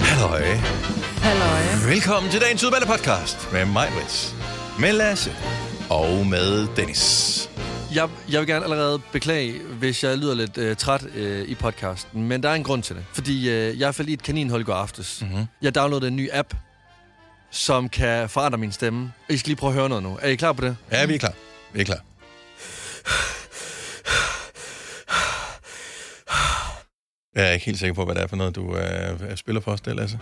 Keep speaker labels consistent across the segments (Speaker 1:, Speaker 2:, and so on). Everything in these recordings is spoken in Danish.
Speaker 1: Halløj.
Speaker 2: Halløj.
Speaker 1: Velkommen til dagens udvalgte podcast med mig, Brits, med Lasse og med Dennis.
Speaker 3: Jeg, jeg vil gerne allerede beklage, hvis jeg lyder lidt øh, træt øh, i podcasten, men der er en grund til det. Fordi øh, jeg faldt i et kaninhul i går aftes.
Speaker 1: Mhm.
Speaker 3: Mm-hmm. Jeg downloadede en ny app, som kan forandre min stemme. I skal lige prøve at høre noget nu. Er I klar på det?
Speaker 1: Ja, vi er klar. Vi er klar. Jeg er ikke helt sikker på, hvad det er for noget, du øh, spiller for os, der, Lasse.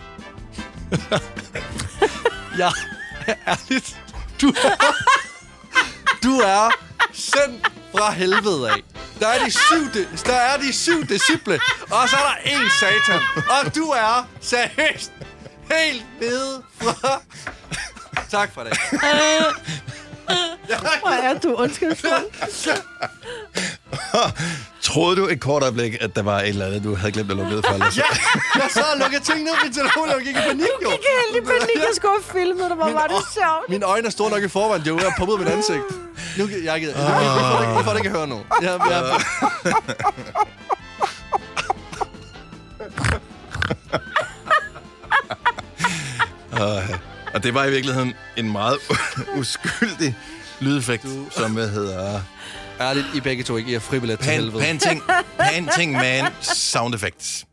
Speaker 3: Ja, ærligt. Du er, du er sendt fra helvede af. Der er de syv, de, der er de syv disciple, og så er der en satan. Og du er seriøst helt nede fra... Tak for det.
Speaker 2: Hvor er du ondskabsfuld?
Speaker 1: Troede du et kort øjeblik, at der var et eller andet, du havde glemt at lukke ned for, Lasse?
Speaker 3: Ja, jeg sad og lukkede ting ned på min telefon, og jeg gik i panik, jo.
Speaker 2: Jeg kan heldig panik, jeg skulle have filmet dig. Hvor var det
Speaker 3: øj-
Speaker 2: sjovt.
Speaker 3: Mine øjne er store nok i forvejen. Det er jo ved at poppe ud af mit ansigt. Nu kan jeg gider. Jeg får ikke, jeg får det ikke at høre nu. Jeg, jeg,
Speaker 1: Øh. Og det var i virkeligheden en meget uskyldig lydeffekt, du. som hvad hedder...
Speaker 3: ærligt, I begge to ikke. I er fribillet til
Speaker 1: Pan,
Speaker 3: helvede.
Speaker 1: panting, panting Man sound effects.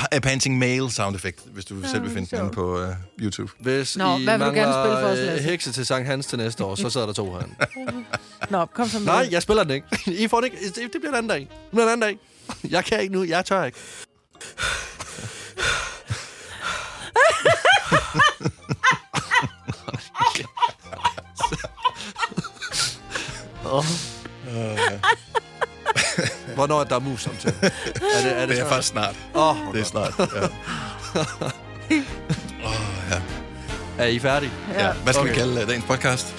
Speaker 1: Pa- eh, panting Male sound effect, hvis
Speaker 2: Ah,
Speaker 1: du selv vil finde den inde på uh, YouTube.
Speaker 3: Hvis
Speaker 2: Nå,
Speaker 3: I
Speaker 2: hvad vil du gerne
Speaker 3: mangler,
Speaker 2: spille for os,
Speaker 3: øh,
Speaker 2: Lasse?
Speaker 3: hekse til Sankt Hans til næste år, så sidder der to herinde.
Speaker 2: Nå, kom så med.
Speaker 3: Nej, jeg spiller den ikke. I får den ikke. Det det bliver en anden dag. Det bliver en anden dag. Jeg kan ikke nu. Jeg tør ikke. oh. Hvornår er der mus samtidig? Er det, er det,
Speaker 1: Det er
Speaker 3: snart?
Speaker 1: faktisk snart.
Speaker 3: Åh,
Speaker 1: Det er snart, ja.
Speaker 3: er I færdige?
Speaker 1: ja. Hvad skal okay. vi
Speaker 3: Okay.
Speaker 1: kalde øh, dagens podcast?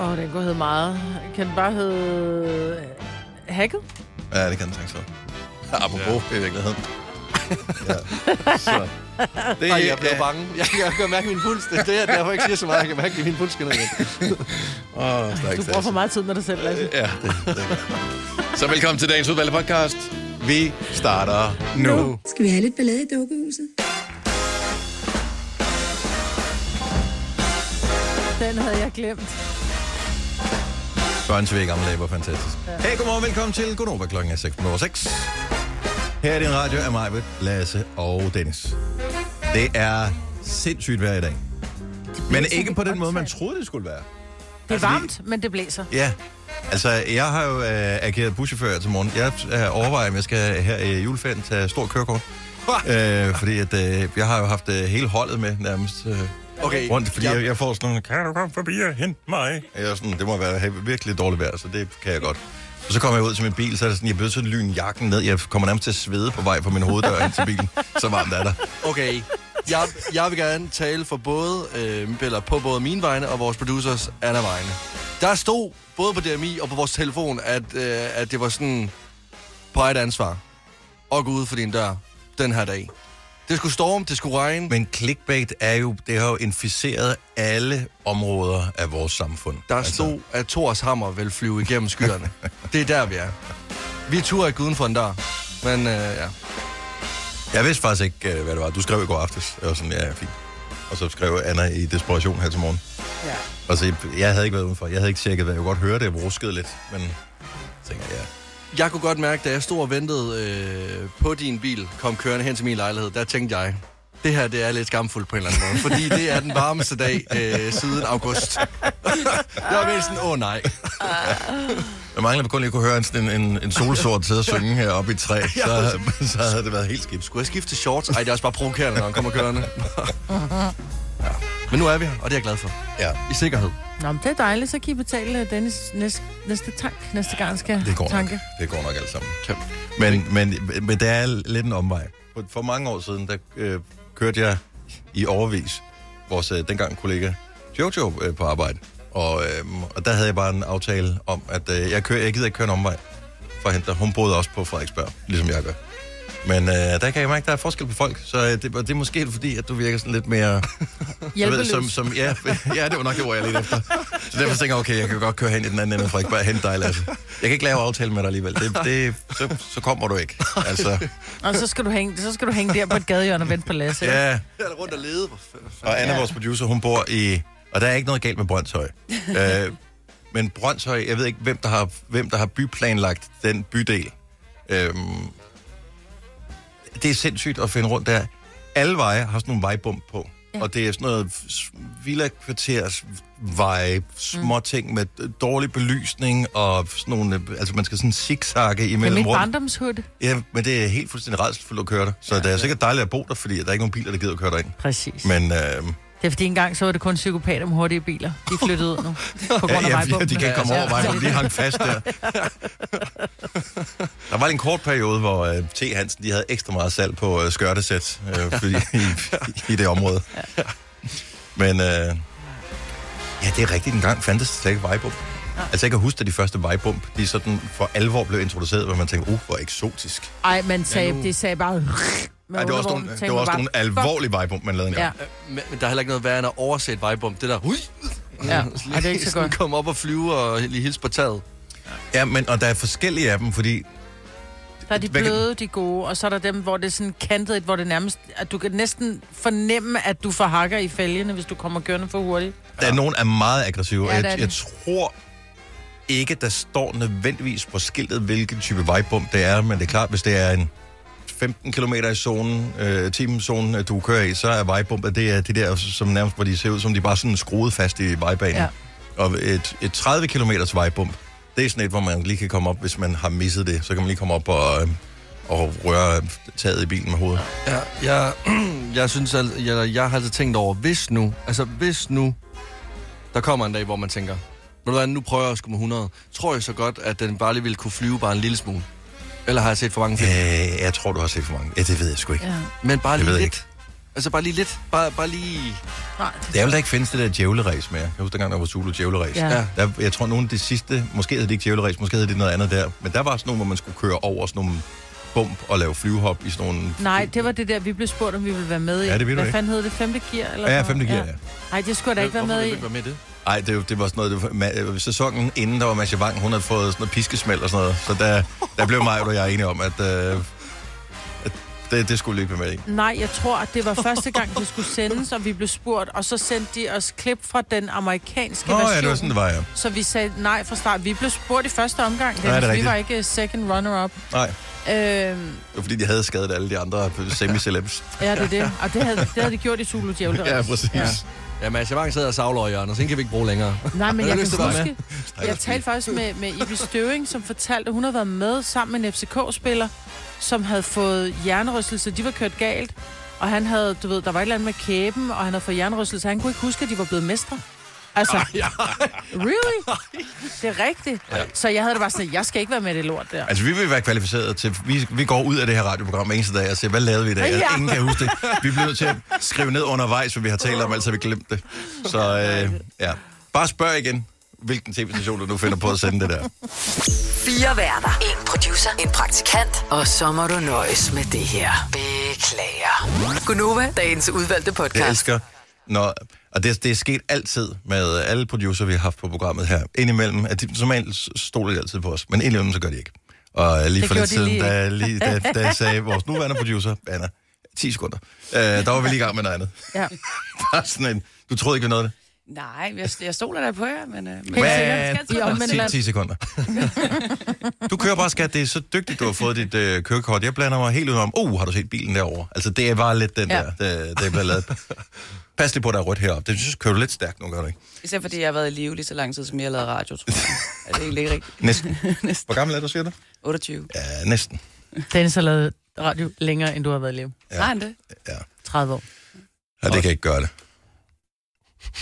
Speaker 2: Åh, oh, den kunne hedde meget. Kan den bare hedde... øh, Hacket?
Speaker 1: Ja, det kan den tænke så. Apropos, ja. i virkeligheden. Ja. Så. Det,
Speaker 3: Ej, jeg blev bange. Jeg kan, jeg kan mærke min puls. Det er det, jeg derfor ikke siger så meget. Jeg kan mærke, at min puls skal ned igen.
Speaker 1: Åh, stærk
Speaker 2: Du bruger
Speaker 1: sats.
Speaker 2: for meget tid med dig selv, Lasse.
Speaker 1: Ja, det, det er godt. Så velkommen til dagens udvalgte podcast. Vi starter nu. nu.
Speaker 4: Skal vi have lidt ballade i dukkehuset?
Speaker 2: Den havde jeg glemt.
Speaker 1: Børnsvæg gamle dage var fantastisk. Ja. Hey, godmorgen, velkommen til Gunova klokken er 6.06. Her er din radio af mig, Lasse og Dennis. Det er sindssygt vejr i dag. Men ikke på den måde, man troede, det skulle være.
Speaker 2: Det
Speaker 1: Altså,
Speaker 2: er varmt, men det blæser.
Speaker 1: Ja, altså jeg har jo øh, ageret buschauffør til morgen. Jeg øh, overvejer, om jeg skal her i juleferien tage stor kørekort. øh, fordi at, øh, jeg har jo haft øh, hele holdet med nærmest øh,
Speaker 3: Okay.
Speaker 1: rundt, fordi jeg, jeg får sådan nogle, kan du komme forbi og hente mig? Jeg er sådan, det må være have virkelig dårligt vejr, så det kan jeg godt. Og så kommer jeg ud til min bil, så er det sådan, jeg bliver sådan lyn jakken ned. Jeg kommer nærmest til at svede på vej fra min hoveddør ind til bilen. Så varmt er der.
Speaker 3: Okay, jeg, jeg vil gerne tale for både, øh, eller på både mine vegne og vores producers Anna vegne. Der stod både på DMI og på vores telefon, at, øh, at det var sådan på eget ansvar at gå ud for din dør den her dag. Det skulle storme, det skulle regne. Men
Speaker 1: Men clickbait er jo, det har jo inficeret alle områder af vores samfund. Altså-
Speaker 3: der stod, at Thors hammer vil flyve igennem skyerne. det er der, vi er. Vi turer ikke uden for en dør. Men øh, ja.
Speaker 1: Jeg vidste faktisk ikke, øh, hvad det var. Du skrev i går aftes. Jeg var sådan, ja, ja, fint. Og så skrev Anna i desperation her til morgen.
Speaker 2: Ja.
Speaker 1: Og så, Altså, jeg havde ikke været udenfor. Jeg havde ikke tjekket, hvad jeg kunne godt høre det. Jeg ruskede lidt, men så tænkte jeg, ja.
Speaker 3: Jeg kunne godt mærke, da jeg stod og ventede øh, på din bil, kom kørende hen til min lejlighed, der tænkte jeg, det her det er lidt skamfuldt på en eller anden måde, fordi det er den varmeste dag øh, siden august. jeg var mest sådan, åh nej.
Speaker 2: Ah.
Speaker 1: Jeg mangler kun lige at kunne høre en, sådan en, en, en solsort sidde og synge heroppe i et træ. Så, så havde det været helt skidt.
Speaker 3: Skulle jeg skifte shorts? Ej, det er også bare provokerende, når han kommer kørende. ja. Men nu er vi her, og det er jeg glad for.
Speaker 1: Ja,
Speaker 3: I sikkerhed.
Speaker 2: Nå, men det er dejligt. Så kan I betale øh, Dennis næste, næste tank, næste gang skal
Speaker 1: det går nok.
Speaker 2: tanke.
Speaker 1: Det går nok alt sammen. Men, men, men det er lidt en omvej. For- For mange år siden, der øh, kørte jeg i overvis vores øh, dengang kollega Jojo øh, på arbejde. Og, øh, og der havde jeg bare en aftale om, at øh, jeg, kører, jeg gider ikke køre en omvej for at hente dig. Hun boede også på Frederiksberg, ligesom jeg gør. Men øh, der kan jeg mærke, at der er forskel på folk, så øh, det, og det er måske fordi, at du virker sådan lidt mere... du
Speaker 2: Hjælpeløs.
Speaker 1: som, som, ja, ja, det var nok det, hvor jeg lidt efter. Så derfor tænker jeg, okay, jeg kan godt køre hen i den anden ende, Frederik, bare hente dig, Lasse. Jeg kan ikke lave aftale med dig alligevel. Det, det, så, så kommer du ikke. Altså,
Speaker 2: Og så skal, du hænge, så skal du hænge der på et gadehjørne og vente på Lasse. Ja.
Speaker 1: ja,
Speaker 3: Jeg er rundt og lede. Hvor f- f-
Speaker 1: Og Anna,
Speaker 2: Ja.
Speaker 1: vores producer, hun bor i... Og der er ikke noget galt med Brøndshøj. øh, men Brøndshøj, jeg ved ikke, hvem der har, hvem der har byplanlagt den bydel. Øhm, det er sindssygt at finde rundt der. Alle veje har sådan nogle vejbump på. Ja.
Speaker 2: Ja.
Speaker 1: Og det er sådan noget s- villa-kvarters veje,
Speaker 2: Mm.
Speaker 1: små ting med dårlig belysning og sådan nogle... øh, Altså, man skal sådan zigzagge
Speaker 2: Med
Speaker 1: imellem
Speaker 2: mit
Speaker 1: rundt.
Speaker 2: barndomshud.
Speaker 1: Ja, men det er helt fuldstændig redselsfuldt at køre der. Så ja, det er sikkert dejligt at bo der, fordi der er ikke nogen biler, der gider at køre derind.
Speaker 2: Præcis. Men.
Speaker 1: Men øh,
Speaker 2: Det er fordi engang, så var det kun psykopater med hurtige biler. De er flyttet ud nu. På grund af
Speaker 1: Ja, ja,
Speaker 2: vejbomben.
Speaker 1: de kan ikke komme
Speaker 2: Ja.
Speaker 1: over vejen, for de hang fast der. Der var lige en kort periode, hvor øh, T. Hansen de havde ekstra meget salg på øh, skørtesæt øh, fordi, i, i det område. Men øh, ja, det er rigtigt. En gang fandtes der slet ikke vejbump. Altså, jeg kan huske, at de første vejbump, de sådan for alvor blev introduceret, hvor man tænkte, uh, hvor eksotisk.
Speaker 2: Ej, man sagde, det sagde bare...
Speaker 1: Ej, det var også nogle, det var også nogle alvorlige vejbump, man lavede.
Speaker 2: Ja.
Speaker 1: Ja.
Speaker 3: Øh, Men, men der er heller ikke noget værre end at overse et vejbump. Det der, hui!
Speaker 2: Ja, ej, det er ikke så
Speaker 3: Sådan
Speaker 2: godt.
Speaker 3: Kom op og flyve og lige hilse på taget.
Speaker 1: ja, men og der er forskellige af dem, fordi
Speaker 2: Der er de
Speaker 1: Hvad kan-
Speaker 2: bløde, de gode, og så er der dem, hvor det er sådan kantet, hvor det nærmest... At du kan næsten fornemme, at du får hakker i fælgene, hvis du kommer kørende for hurtigt.
Speaker 1: Der er nogen, der er meget aggressive.
Speaker 2: Ja,
Speaker 1: Ja,
Speaker 2: det er
Speaker 1: jeg,
Speaker 2: de.
Speaker 1: jeg tror ikke, der står nødvendigvis på skiltet, hvilken type vejbump det er, men det er klart, hvis det er en 15 km i zonen, øh, timezonen, at du kører i, så er vejbumpet, det er det der, som nærmest, hvor de ser ud, som de bare sådan skruet fast i vejbanen. Ja.
Speaker 2: Ja.
Speaker 1: Og et, et 30 km vejbump, det er sådan et, hvor man lige kan komme op, hvis man har misset det. Så kan man lige komme op og, øh, og røre taget i bilen med hovedet.
Speaker 3: Ja, jeg, jeg synes, at jeg, jeg har altid tænkt over, hvis nu, altså hvis nu, der kommer en dag, hvor man tænker, ved du hvad, nu prøver jeg at skulle med 100, tror jeg så godt, at den bare lige ville kunne flyve bare en lille smule? Eller har jeg set for mange film?
Speaker 1: Øh, jeg tror, du har set for mange. Ja, det ved jeg sgu ikke.
Speaker 2: Ja.
Speaker 3: Men bare
Speaker 1: det
Speaker 3: lige
Speaker 1: ved jeg
Speaker 3: lidt. Altså bare lige lidt. Bare, bare lige...
Speaker 2: Nej. det-
Speaker 1: Det er vel, der ikke findes det der djævleræs mere. Jeg husker dengang, der var Zulu djævleræs.
Speaker 2: Ja.
Speaker 3: Ja.
Speaker 2: ja.
Speaker 1: Der, jeg tror, nogle af de sidste, måske hed det ikke djævleræs, måske hed det noget andet der, men der var sådan nogle, hvor man skulle køre over sådan nogle bump og lave flyvehop i sådan nogle...
Speaker 2: Nej, det var det der, vi blev spurgt, om vi ville være med i.
Speaker 1: Ja, det ved du
Speaker 2: Hvad
Speaker 1: ikke.
Speaker 2: fanden hed det? Femte gear? Eller
Speaker 1: Ja,
Speaker 2: sådan
Speaker 1: ja,
Speaker 2: noget?
Speaker 1: femte gear, ja.
Speaker 2: Nej, det skulle jeg da ikke være med i.
Speaker 3: ikke være med i det?
Speaker 1: Ej, det, det var sådan noget... Det var, ma- øh, sæsonen inden, der var Masha Wang, hun havde fået sådan noget piskesmæld og sådan noget, så der, der blev mig og jeg enige om, at, øh, at det, det skulle løbe med i.
Speaker 2: Nej, jeg tror, at det var første gang, det skulle sendes, og vi blev spurgt, og så sendte de os klip fra den amerikanske
Speaker 1: Nå
Speaker 2: version.
Speaker 1: ja, det var sådan, det var, ja.
Speaker 2: Så vi sagde nej fra start. Vi blev spurgt i første omgang,
Speaker 1: er
Speaker 2: Dennis. vi
Speaker 1: rigtigt.
Speaker 2: var ikke øh, second runner-up.
Speaker 1: Nej,
Speaker 2: Øhm,
Speaker 1: det var fordi, de havde skadet alle de andre semi-celebs.
Speaker 2: Ja, det er det. Og det havde, det havde de gjort i Zulu Djævleræs.
Speaker 1: Ja, præcis. Ja.
Speaker 3: Ja, Mads, jeg var sidder og savler i hjørnet, så hende kan vi ikke bruge længere.
Speaker 2: Nej, men
Speaker 3: Har du
Speaker 2: jeg kan
Speaker 3: lyst til at være
Speaker 2: huske, jeg talte faktisk med, med Ibi Støving, som fortalte, at hun havde været med sammen med en FCK-spiller, som havde fået hjernerystelse. De var kørt galt, og han havde, du ved, der var et eller andet med kæben, og han havde fået hjernerystelse. Han kunne ikke huske, at de var blevet mestre. Altså, really? Det er rigtigt. Så jeg havde det bare sådan, jeg skal ikke være med i det lort der.
Speaker 1: Altså, vi vil være kvalificeret til... Vi, vi går ud af det her radioprogram hver eneste dag og siger, hvad lavede vi i dag? Altså,
Speaker 2: Ja.
Speaker 1: Ingen kan huske det. Vi bliver nødt til at skrive ned undervejs, hvad vi har talt om, ellers har vi glemt det. Så øh, ja, bare spørg igen, hvilken tv-station du nu finder på at sende det der.
Speaker 5: Fire værter. En producer. En praktikant. Og så må du nøjes med det her. Beklager. Gunova, dagens udvalgte podcast.
Speaker 1: Jeg elsker, når, og det, det er sket altid med alle producer, vi har haft på programmet her. Indimellem, at de, som regel stoler de altid på os, men indimellem så gør de ikke. Og lige
Speaker 2: Det
Speaker 1: for lidt
Speaker 2: gjorde de
Speaker 1: siden,
Speaker 2: lige
Speaker 1: da, lige, da, da sagde vores nuværende producer, Anna, 10 sekunder, øh, der var vi lige i gang med noget andet.
Speaker 2: Ja.
Speaker 1: Bare sådan en, du troede ikke, vi nåede det?
Speaker 6: Nej, jeg, jeg stoler da på jer, men... øh, men
Speaker 2: Helt
Speaker 1: Men-
Speaker 2: sikkert. I omvendt
Speaker 1: 10,
Speaker 2: land.
Speaker 1: 10 sekunder. Du kører bare, skat. Det er så dygtigt, du har fået dit øh, kørekort. Jeg blander mig helt udenom. Uh, har du set bilen derovre? Altså, det er bare lidt den ja.
Speaker 6: Ja.
Speaker 1: der, øh, det, det er blevet lavet. Pas lige på, der er rødt heroppe. Det synes jeg, kører du lidt stærkt nu, gør du ikke?
Speaker 6: især fordi jeg har været i live lige så lang tid, som jeg har lavet radio, tror jeg. er det egentlig ikke rigtigt?
Speaker 1: Næsten.
Speaker 6: Næsten
Speaker 1: Hvor gammel er du, siger du?
Speaker 6: 28.
Speaker 1: Ja, næsten.
Speaker 2: Dennis har lavet radio længere, end du har været i live.
Speaker 6: Ja. Har han det?
Speaker 1: Ja,
Speaker 2: 30 år.
Speaker 1: ja det kan jeg ikke gøre det.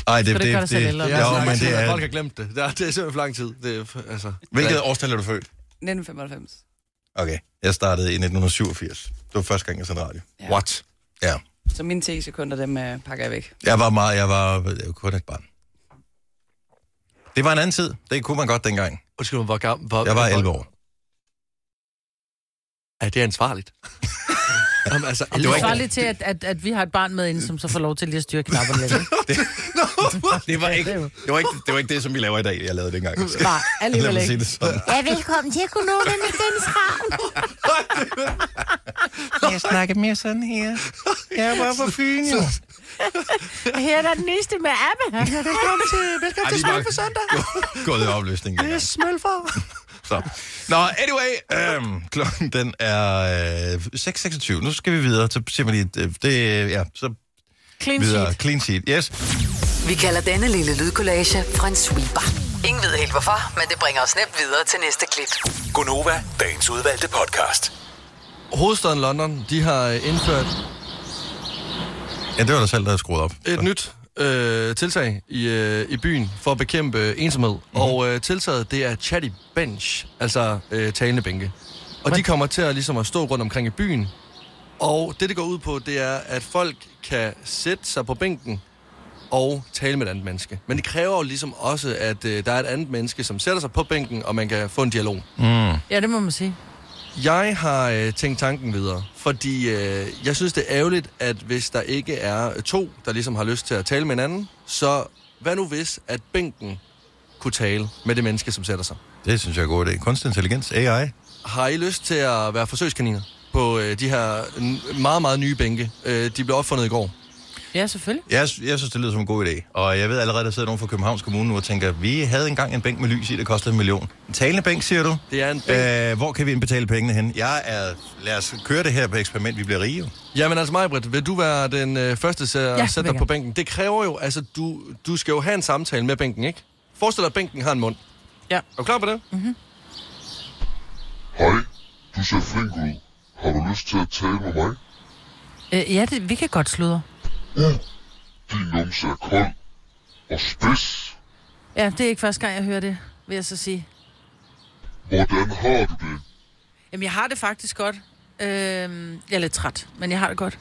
Speaker 1: Ej, det,
Speaker 2: det gør dig
Speaker 1: det,
Speaker 2: selv
Speaker 1: det,
Speaker 2: ældre.
Speaker 1: det,
Speaker 2: Det
Speaker 3: Jeg
Speaker 1: jo, men det
Speaker 3: Folk har
Speaker 1: er...
Speaker 3: glemt det. Det er, det er simpelthen for lang tid. Det er, f- altså...
Speaker 1: Hvilket årstal er du født?
Speaker 6: 1995.
Speaker 1: Okay, jeg startede i 1987. Det var første gang, jeg sendte radio.
Speaker 6: Ja.
Speaker 1: What? Ja.
Speaker 6: Så mine 10 sekunder, dem øh, pakker jeg væk.
Speaker 1: Jeg var meget, jeg var, jeg var kun et barn. Det var en anden tid. Det kunne man godt dengang.
Speaker 3: Undskyld mig, hvor gammel... Hvor,
Speaker 1: Jeg var
Speaker 3: hvor-
Speaker 1: 11 år.
Speaker 3: Ja, det er ansvarligt. Jamen, altså,
Speaker 1: Det var
Speaker 2: Svarer
Speaker 1: ikke,
Speaker 2: lige til, at, at, at vi har et barn med inden, som så får lov til lige at styre knapperne lidt. ikke?
Speaker 1: det, var ikke, det, var ikke, det var ikke det, som vi laver i dag, jeg lavede dengang.
Speaker 2: Nej,
Speaker 1: Lad
Speaker 2: alligevel
Speaker 1: mig
Speaker 2: ikke.
Speaker 1: sige det sådan.
Speaker 7: Ja, velkommen til Konoba med Dennis Ravn.
Speaker 1: Jeg snakker mere sådan her. Jeg var på Fyn, jo.
Speaker 2: Og her er der den nyeste med Abbe.
Speaker 3: Velkommen til, velkommen til Smølfer Søndag.
Speaker 1: Gået i opløsning.
Speaker 3: Det er Smølfer.
Speaker 1: Så. Nå, anyway, øhm, klokken den er øh, 6.26. Nu skal vi videre, så siger man lige, øh, det, øh, ja, så
Speaker 2: Clean
Speaker 1: videre.
Speaker 2: sheet.
Speaker 1: Clean sheet, yes.
Speaker 5: Vi kalder denne lille lydkollage Frans sweeper. Ingen ved helt hvorfor, men det bringer os nemt videre til næste klip.
Speaker 8: Gunova, dagens udvalgte podcast.
Speaker 3: Hovedstaden London, de har øh, indført
Speaker 1: Ja, det var dig selv, der havde skruet op.
Speaker 3: et nyt øh, tiltag i, øh, i byen for at bekæmpe øh, ensomhed. Mm-hmm. Og øh, tiltaget, det er chatty bench, altså øh, talende bænke. Og de kommer til at, ligesom at stå rundt omkring i byen. Og det, det går ud på, det er, at folk kan sætte sig på bænken og tale med et andet menneske. Men det kræver jo ligesom også, at øh, der er et andet menneske, som sætter sig på bænken, og man kan få en dialog.
Speaker 1: Mm.
Speaker 2: Ja, det må man sige.
Speaker 3: Jeg har øh, tænkt tanken videre, fordi øh, jeg synes, det er ærgerligt, at hvis der ikke er to, der ligesom har lyst til at tale med hinanden, så hvad nu hvis, at bænken kunne tale med det menneske, som sætter sig?
Speaker 1: Det synes jeg er en god idé. Kunstig intelligens, AI.
Speaker 3: Har I lyst til at være forsøgskaniner på øh, de her n- meget, meget nye bænke? Øh, de blev opfundet i går.
Speaker 2: Ja, selvfølgelig.
Speaker 1: Jeg, sy- jeg synes, det lyder som en god idé. Og jeg ved allerede, der sidder nogen fra Københavns Kommune nu og tænker, vi havde engang en bænk med lys i, der kostede en million. En talende bænk, siger du?
Speaker 3: Det er en bænk.
Speaker 1: Øh, hvor kan vi indbetale pengene hen? Jeg er... Lad os køre det her på eksperiment, vi bliver rige. jo.
Speaker 3: Jamen altså, Majbrit, vil du være den øh, første til at
Speaker 2: Ja,
Speaker 3: ja, sætte
Speaker 2: vil
Speaker 3: dig på
Speaker 2: jeg.
Speaker 3: bænken? Det kræver jo, altså, du, du skal jo have en samtale med bænken, ikke? Forestil dig, at bænken har en mund.
Speaker 2: Ja. Mhm.
Speaker 3: Er du klar på det?
Speaker 9: Hej, du ser flink ud. Har du lyst til at tale med mig?
Speaker 2: Øh, ja, det, vi kan godt sludre.
Speaker 9: Din numse er kold og spids.
Speaker 2: Ja, det er ikke første gang, jeg hører det, vil jeg så sige.
Speaker 9: Hvordan har du det?
Speaker 2: Jamen, jeg har det faktisk godt. Øh, jeg er lidt træt, men jeg har det godt.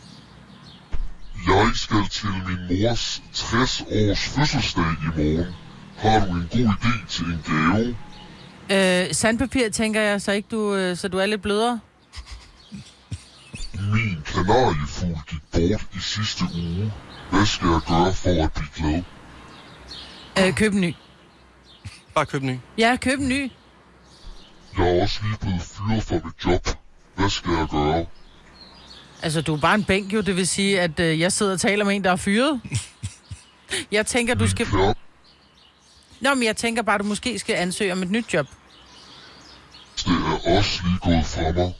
Speaker 9: Jeg skal til min mors 60 års fødselsdag i morgen. Har du en god idé til en gave?
Speaker 2: Øh, sandpapir, tænker jeg, så, ikke du, øh, så du er lidt blødere.
Speaker 9: Min kanariefugl gik bort i sidste uge. Hvad skal jeg gøre for at blive glad?
Speaker 2: Øh, køb en ny.
Speaker 3: Bare køb en ny.
Speaker 2: Ja, køb en ny.
Speaker 9: Jeg er også lige blevet fyret fra mit job. Hvad skal jeg gøre?
Speaker 2: Altså, du er bare en bænk jo, det vil sige, at øh, jeg sidder og taler med en, der er fyret. jeg tænker, du skal...
Speaker 9: Kære,
Speaker 2: Nå, men jeg tænker bare, du måske skal ansøge om et nyt job.
Speaker 9: det er også lige gået fra mig.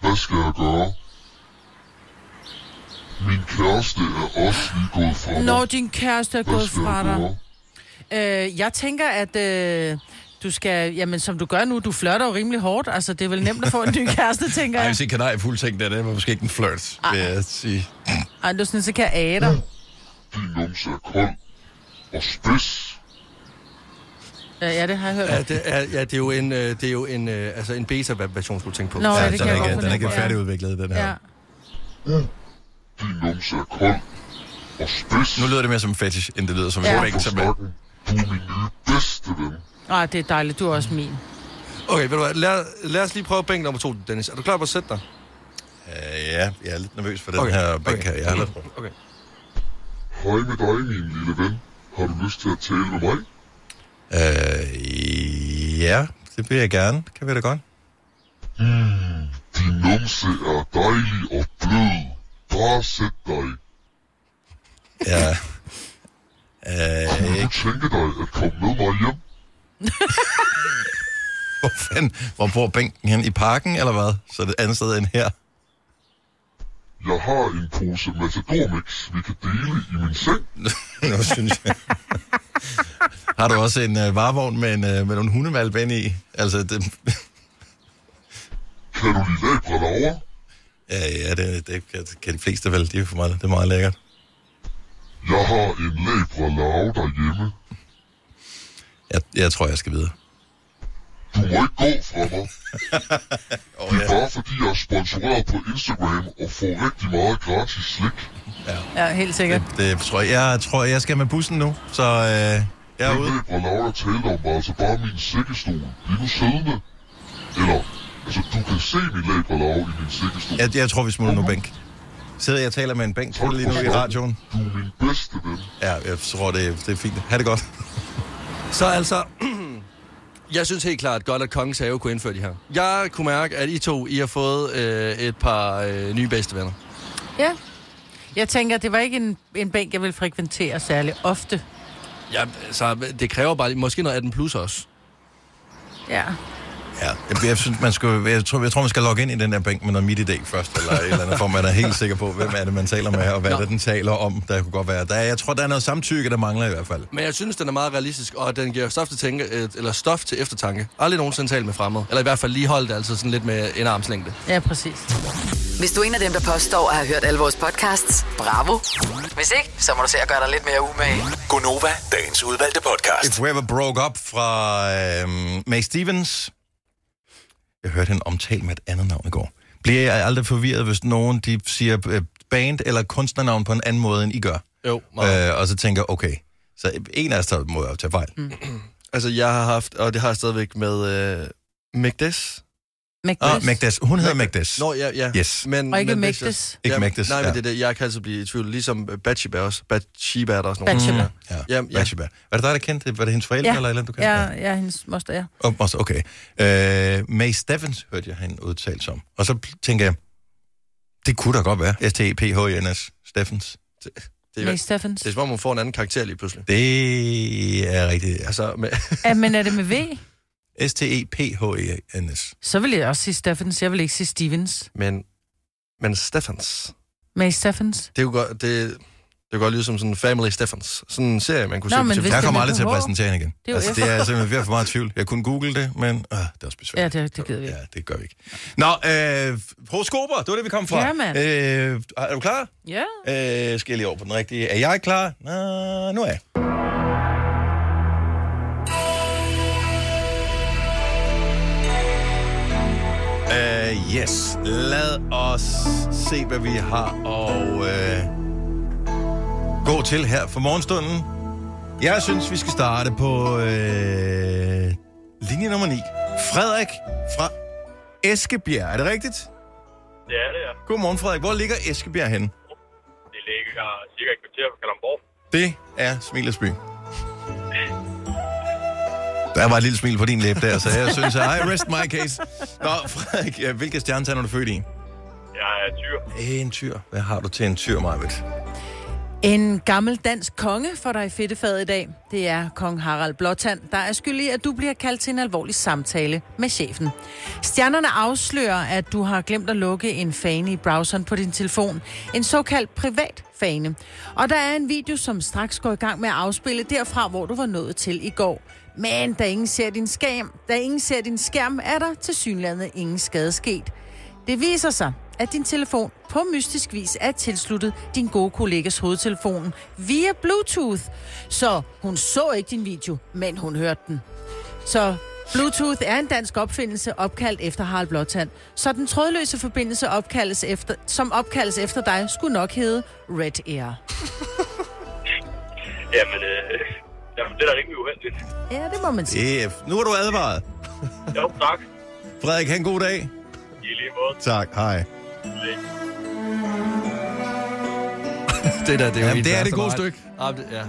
Speaker 9: Hvad skal jeg gøre? Min kæreste er også lige gået fra mig.
Speaker 2: Når din kæreste er
Speaker 9: Hvad
Speaker 2: gået
Speaker 9: skal
Speaker 2: fra
Speaker 9: jeg
Speaker 2: dig.
Speaker 9: gøre?
Speaker 2: Øh, jeg tænker, at øh, du skal... Jamen, som du gør nu, du flirter jo rimelig hårdt. Altså, det er vel nemt at få en ny kæreste, tænker
Speaker 1: Ej,
Speaker 2: jeg.
Speaker 1: hvis ikke kanarier fuld ting, der, det var måske ikke en flirt, vil jeg sige.
Speaker 2: Ej, du er sådan, så kan jeg age dig.
Speaker 9: Din numse er kold og spids.
Speaker 2: Øh, ja, det har jeg hørt.
Speaker 3: Ja, det er, ja, det er jo en, øh, det er jo en, øh, altså en beta-version, skulle du tænke på.
Speaker 2: Nå, ja, det
Speaker 1: den,
Speaker 2: kan
Speaker 1: er
Speaker 2: jeg
Speaker 1: ikke,
Speaker 2: godt
Speaker 1: den er ikke
Speaker 2: fornemme, ja.
Speaker 1: færdigudviklet, den her.
Speaker 2: Ja.
Speaker 9: Din numse er kold og spids.
Speaker 1: Nu lyder det mere som en fetish, end det lyder som
Speaker 2: Ja.
Speaker 1: en
Speaker 9: Hold
Speaker 1: bænk.
Speaker 9: på
Speaker 1: Som er...
Speaker 9: snakken. Du er min nye bedste ven.
Speaker 2: Ej, det er dejligt. Du er også min.
Speaker 3: Okay, ved du hvad, lad, lad os lige prøve bænk nummer to, Dennis. Er du klar på at sætte dig?
Speaker 1: Øh, ja, jeg er lidt nervøs for den
Speaker 3: Okay,
Speaker 1: her bænk her. Jeg har lidt...
Speaker 3: Okay.
Speaker 9: Hej med dig, min lille ven. Har du lyst til at tale med mig?
Speaker 1: Øh, ja, det vil jeg gerne. Kan vi da godt.
Speaker 9: Din numse er dejlig og blød. Bare sæt dig.
Speaker 1: Ja. øh,
Speaker 9: Kunne du tænke dig at komme med mig hjem?
Speaker 1: hvor, fanden, hvor bor bænken hen? I parken, eller hvad? Så det er et andet sted end her.
Speaker 9: Jeg har en pose Matadormix, vi kan dele i min seng.
Speaker 1: Nå, synes jeg. Har du også en øh, varevogn med, en, øh, med nogle hundevalpe ind i? Altså, det,
Speaker 9: Kan du lide labrador?
Speaker 1: ja, ja, det, det kan, kan de fleste vel. Det er, for meget, det er meget lækkert.
Speaker 9: Jeg har en labrador derhjemme.
Speaker 1: Jeg, jeg tror, jeg skal videre.
Speaker 9: Du må ikke gå fra mig. Det er bare fordi, jeg er sponsoreret på Instagram og får rigtig meget gratis slik.
Speaker 2: Ja, helt sikkert.
Speaker 1: Det tror jeg, jeg tror, jeg skal med bussen nu, så øh, jeg er
Speaker 9: Den
Speaker 1: ude.
Speaker 9: labrador, der talte om, var altså bare min sækkestol. Bliv nu siddende. Eller, Så du kan se min læbre lave i min sikkestol.
Speaker 1: Jeg, jeg tror, vi smutter nu bænk. Sidder jeg og taler med en bænk
Speaker 9: Hold
Speaker 1: lige nu i
Speaker 9: på
Speaker 1: radioen?
Speaker 9: Du er min bedste ven.
Speaker 1: Ja, jeg tror, det, er- det er fint. Ha' det godt.
Speaker 3: Så altså, jeg synes helt klart godt, at Kongens Have kunne indføre de her. Jeg kunne mærke, at I to I har fået øh, et par øh, nye bedste venner.
Speaker 2: Ja. Jeg tænker, det var ikke en, en bænk, jeg ville frekventere særlig ofte.
Speaker 3: Ja, så det kræver bare lige- måske noget 18 plus også.
Speaker 2: Ja.
Speaker 1: Ja, jeg, jeg, synes, man skal, jeg, tror, jeg tror, man skal logge ind i den der bænk med noget midt idé først, eller et eller andet, for man er helt sikker på, hvem er det, man taler med, og hvad er det, den taler om. Der kunne godt være. Der, er- jeg tror, der er noget samtykke, der mangler i hvert fald.
Speaker 3: Men jeg synes, den er meget realistisk, og den giver stof til, tænke, øh, eller stof til eftertanke. Aldrig nogensinde talt med fremmede. Eller i hvert fald lige holdt det altså sådan lidt med en armslængde.
Speaker 2: Ja, præcis.
Speaker 5: Hvis du er en af dem, der påstår at have hørt alle vores podcasts, bravo. Hvis ikke, så må du se at gøre dig lidt mere umage.
Speaker 8: Gonova, dagens udvalgte podcast.
Speaker 1: If We Ever Broke Up fra øh, Mae Stevens. Jeg hørte hende omtalt med et andet navn i går. Bliver jeg aldrig forvirret, hvis nogen de siger øh, band eller kunstnernavn på en anden måde, end I gør?
Speaker 3: Jo, meget. Øh.
Speaker 1: Øh, og så tænker okay, så en af os der må jo tage fejl. Mm.
Speaker 3: Altså, jeg har haft, og det har jeg stadigvæk med øh, Megdes.
Speaker 1: Ah,
Speaker 2: Magdes.
Speaker 1: Magdes. Hun hedder Magdes.
Speaker 3: Nå, ja, ja.
Speaker 1: Yes.
Speaker 3: Men,
Speaker 2: Og ikke
Speaker 3: men hvis jeg-
Speaker 2: Magdes.
Speaker 1: Ikke
Speaker 3: Jamen,
Speaker 1: Magdes,
Speaker 3: Nej, men
Speaker 1: ja.
Speaker 3: det er det. Jeg kan altså blive i tvivl. Ligesom øh, Bathsheba også. Bathsheba er der også nogen.
Speaker 2: Bathsheba.
Speaker 1: Ja,
Speaker 3: Jamen, ja.
Speaker 1: Bathsheba. Var det dig, der kendte det? Var det hendes forældre
Speaker 2: Ja.
Speaker 1: eller et eller andet, du kendte?
Speaker 2: Ja, ja, hendes moster, ja.
Speaker 1: Og, og så- okay. Øh, Mae Steffens hørte jeg hende udtalt som. Og så tænker jeg, det kunne da godt være. s t e p h n s Steffens.
Speaker 3: Det
Speaker 2: Mae
Speaker 3: er,
Speaker 2: Steffens.
Speaker 3: det er som om, hun får en anden karakter lige pludselig.
Speaker 1: Det er rigtigt. Altså,
Speaker 3: Altså, med,
Speaker 2: Ja, Ah, men er det med V?
Speaker 1: E S-T-E-P-H-E-N-S.
Speaker 2: Så vil jeg også sige Steffens. Jeg vil ikke sige Stevens.
Speaker 3: men, men Steffens.
Speaker 2: Mae Steffens.
Speaker 3: Det er jo godt, det, det er godt lyde som sådan en Family Steffens. Sådan en serie, man kunne
Speaker 2: Nå,
Speaker 3: se på
Speaker 2: men
Speaker 3: TV.
Speaker 2: hvis
Speaker 1: Jeg
Speaker 2: det
Speaker 1: kommer
Speaker 2: er
Speaker 1: aldrig til at
Speaker 2: med H.
Speaker 1: præsentere hende igen.
Speaker 2: er jo
Speaker 1: altså,
Speaker 2: F.
Speaker 1: det er simpelthen ved at få meget tvivl. Jeg kunne google det, men øh, det er også
Speaker 2: Ja,
Speaker 1: besværligt.
Speaker 2: det, det gider vi ikke.
Speaker 1: Ja, det gør vi ikke. Nå, øh, horoskoper, det var det, vi kom fra.
Speaker 2: Ja, mand.
Speaker 1: Øh, er du klar?
Speaker 2: Ja.
Speaker 1: Øh, skal jeg lige over på den rigtige. Er jeg klar? Nå, nu er jeg. Uh, yes, lad os se, hvad vi har og uh, gå til her for morgenstunden. Jeg synes, vi skal starte på uh, linje nummer 9. Frederik fra Eskebjerg, er det rigtigt?
Speaker 10: Det er det, ja.
Speaker 1: Godmorgen, Frederik. Hvor ligger Eskebjerg henne?
Speaker 10: Det ligger cirka et kvarter fra Kalamborg.
Speaker 1: Det er Smilets by. Der var et lille smil på din læbe der, så jeg synes, at I rest my case. Nå, Frederik, øh, hvilke stjernetegn er du født i?
Speaker 10: Jeg er tyr.
Speaker 1: En tyr. Hvad har du til en tyr, Marvitt?
Speaker 2: En gammel dansk konge får dig i fedtefadet i dag. Det er kong Harald Blåtand, der er skyld i, at du bliver kaldt til en alvorlig samtale med chefen. Stjernerne afslører, at du har glemt at lukke en fane i browseren på din telefon. En såkaldt privat fane. Og der er en video, som straks går i gang med at afspille derfra, hvor du var nået til i går. Men da ingen ser din skærm, da ingen ser din skærm, er der til synlandet ingen skade sket. Det viser sig, at din telefon på mystisk vis er tilsluttet din gode kollegas hovedtelefon via Bluetooth. Så hun så ikke din video, men hun hørte den. Så Bluetooth er en dansk opfindelse opkaldt efter Harald Blåtand. Så den trådløse forbindelse, opkaldes efter, som opkaldes efter dig, skulle nok hedde Red Air.
Speaker 10: Jamen, øh, jamen, det er da rimelig uheldigt.
Speaker 2: Ja, det må man sige.
Speaker 1: F. Nu er du advaret.
Speaker 10: Jo, tak.
Speaker 1: Frederik, have en god dag.
Speaker 10: I lige måde.
Speaker 1: Tak, hej.
Speaker 3: Det der, det er jo
Speaker 1: Jamen,
Speaker 3: mit
Speaker 1: det er det
Speaker 3: værste
Speaker 1: gode
Speaker 3: mareridt.
Speaker 1: stykke.
Speaker 3: Ja, det- ja.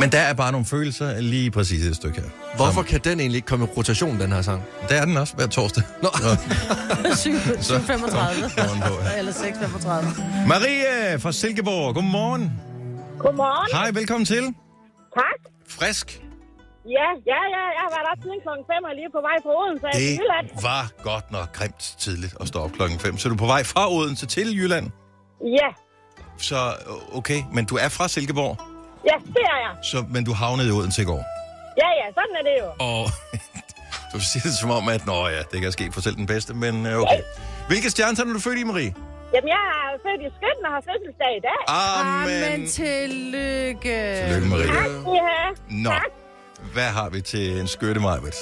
Speaker 1: Men der er bare nogle følelser lige præcis i et stykke her.
Speaker 3: Hvorfor kan den egentlig ikke komme i rotation, den her sang?
Speaker 1: Der er den også hver torsdag.
Speaker 3: Nå.
Speaker 2: Syv- 7.35.
Speaker 1: på, ja.
Speaker 2: Eller 6.35.
Speaker 1: Marie øh, fra Silkeborg, godmorgen.
Speaker 11: Godmorgen.
Speaker 1: Hej, velkommen til.
Speaker 11: Tak.
Speaker 1: Frisk.
Speaker 11: Ja, ja, ja. Jeg har været op siden klokken 5 og lige på vej fra Odense. Det...
Speaker 1: Det
Speaker 11: Til Jylland.
Speaker 1: var godt nok grimt tidligt at stå op klokken 5. Så du er på vej fra Odense til Jylland.
Speaker 11: Ja.
Speaker 1: Så øh, okay, men du er fra Silkeborg,
Speaker 11: Ja, det er jeg.
Speaker 1: så, men du havnede i Odense i går.
Speaker 11: Ja, ja. Sådan er det jo.
Speaker 1: Og du siger det som om, at nå ja, det kan ske for selv den bedste, men øh, okay. Hvilke stjernetegn er du født i, Marie?
Speaker 11: Jamen, jeg er født i Skytten og har fødselsdag i dag.
Speaker 2: Amen,
Speaker 1: Amen.
Speaker 2: tillykke.
Speaker 1: Lykke, Marie.
Speaker 11: Ja.
Speaker 1: Nå, hvad har vi til en skøtte, Majbet?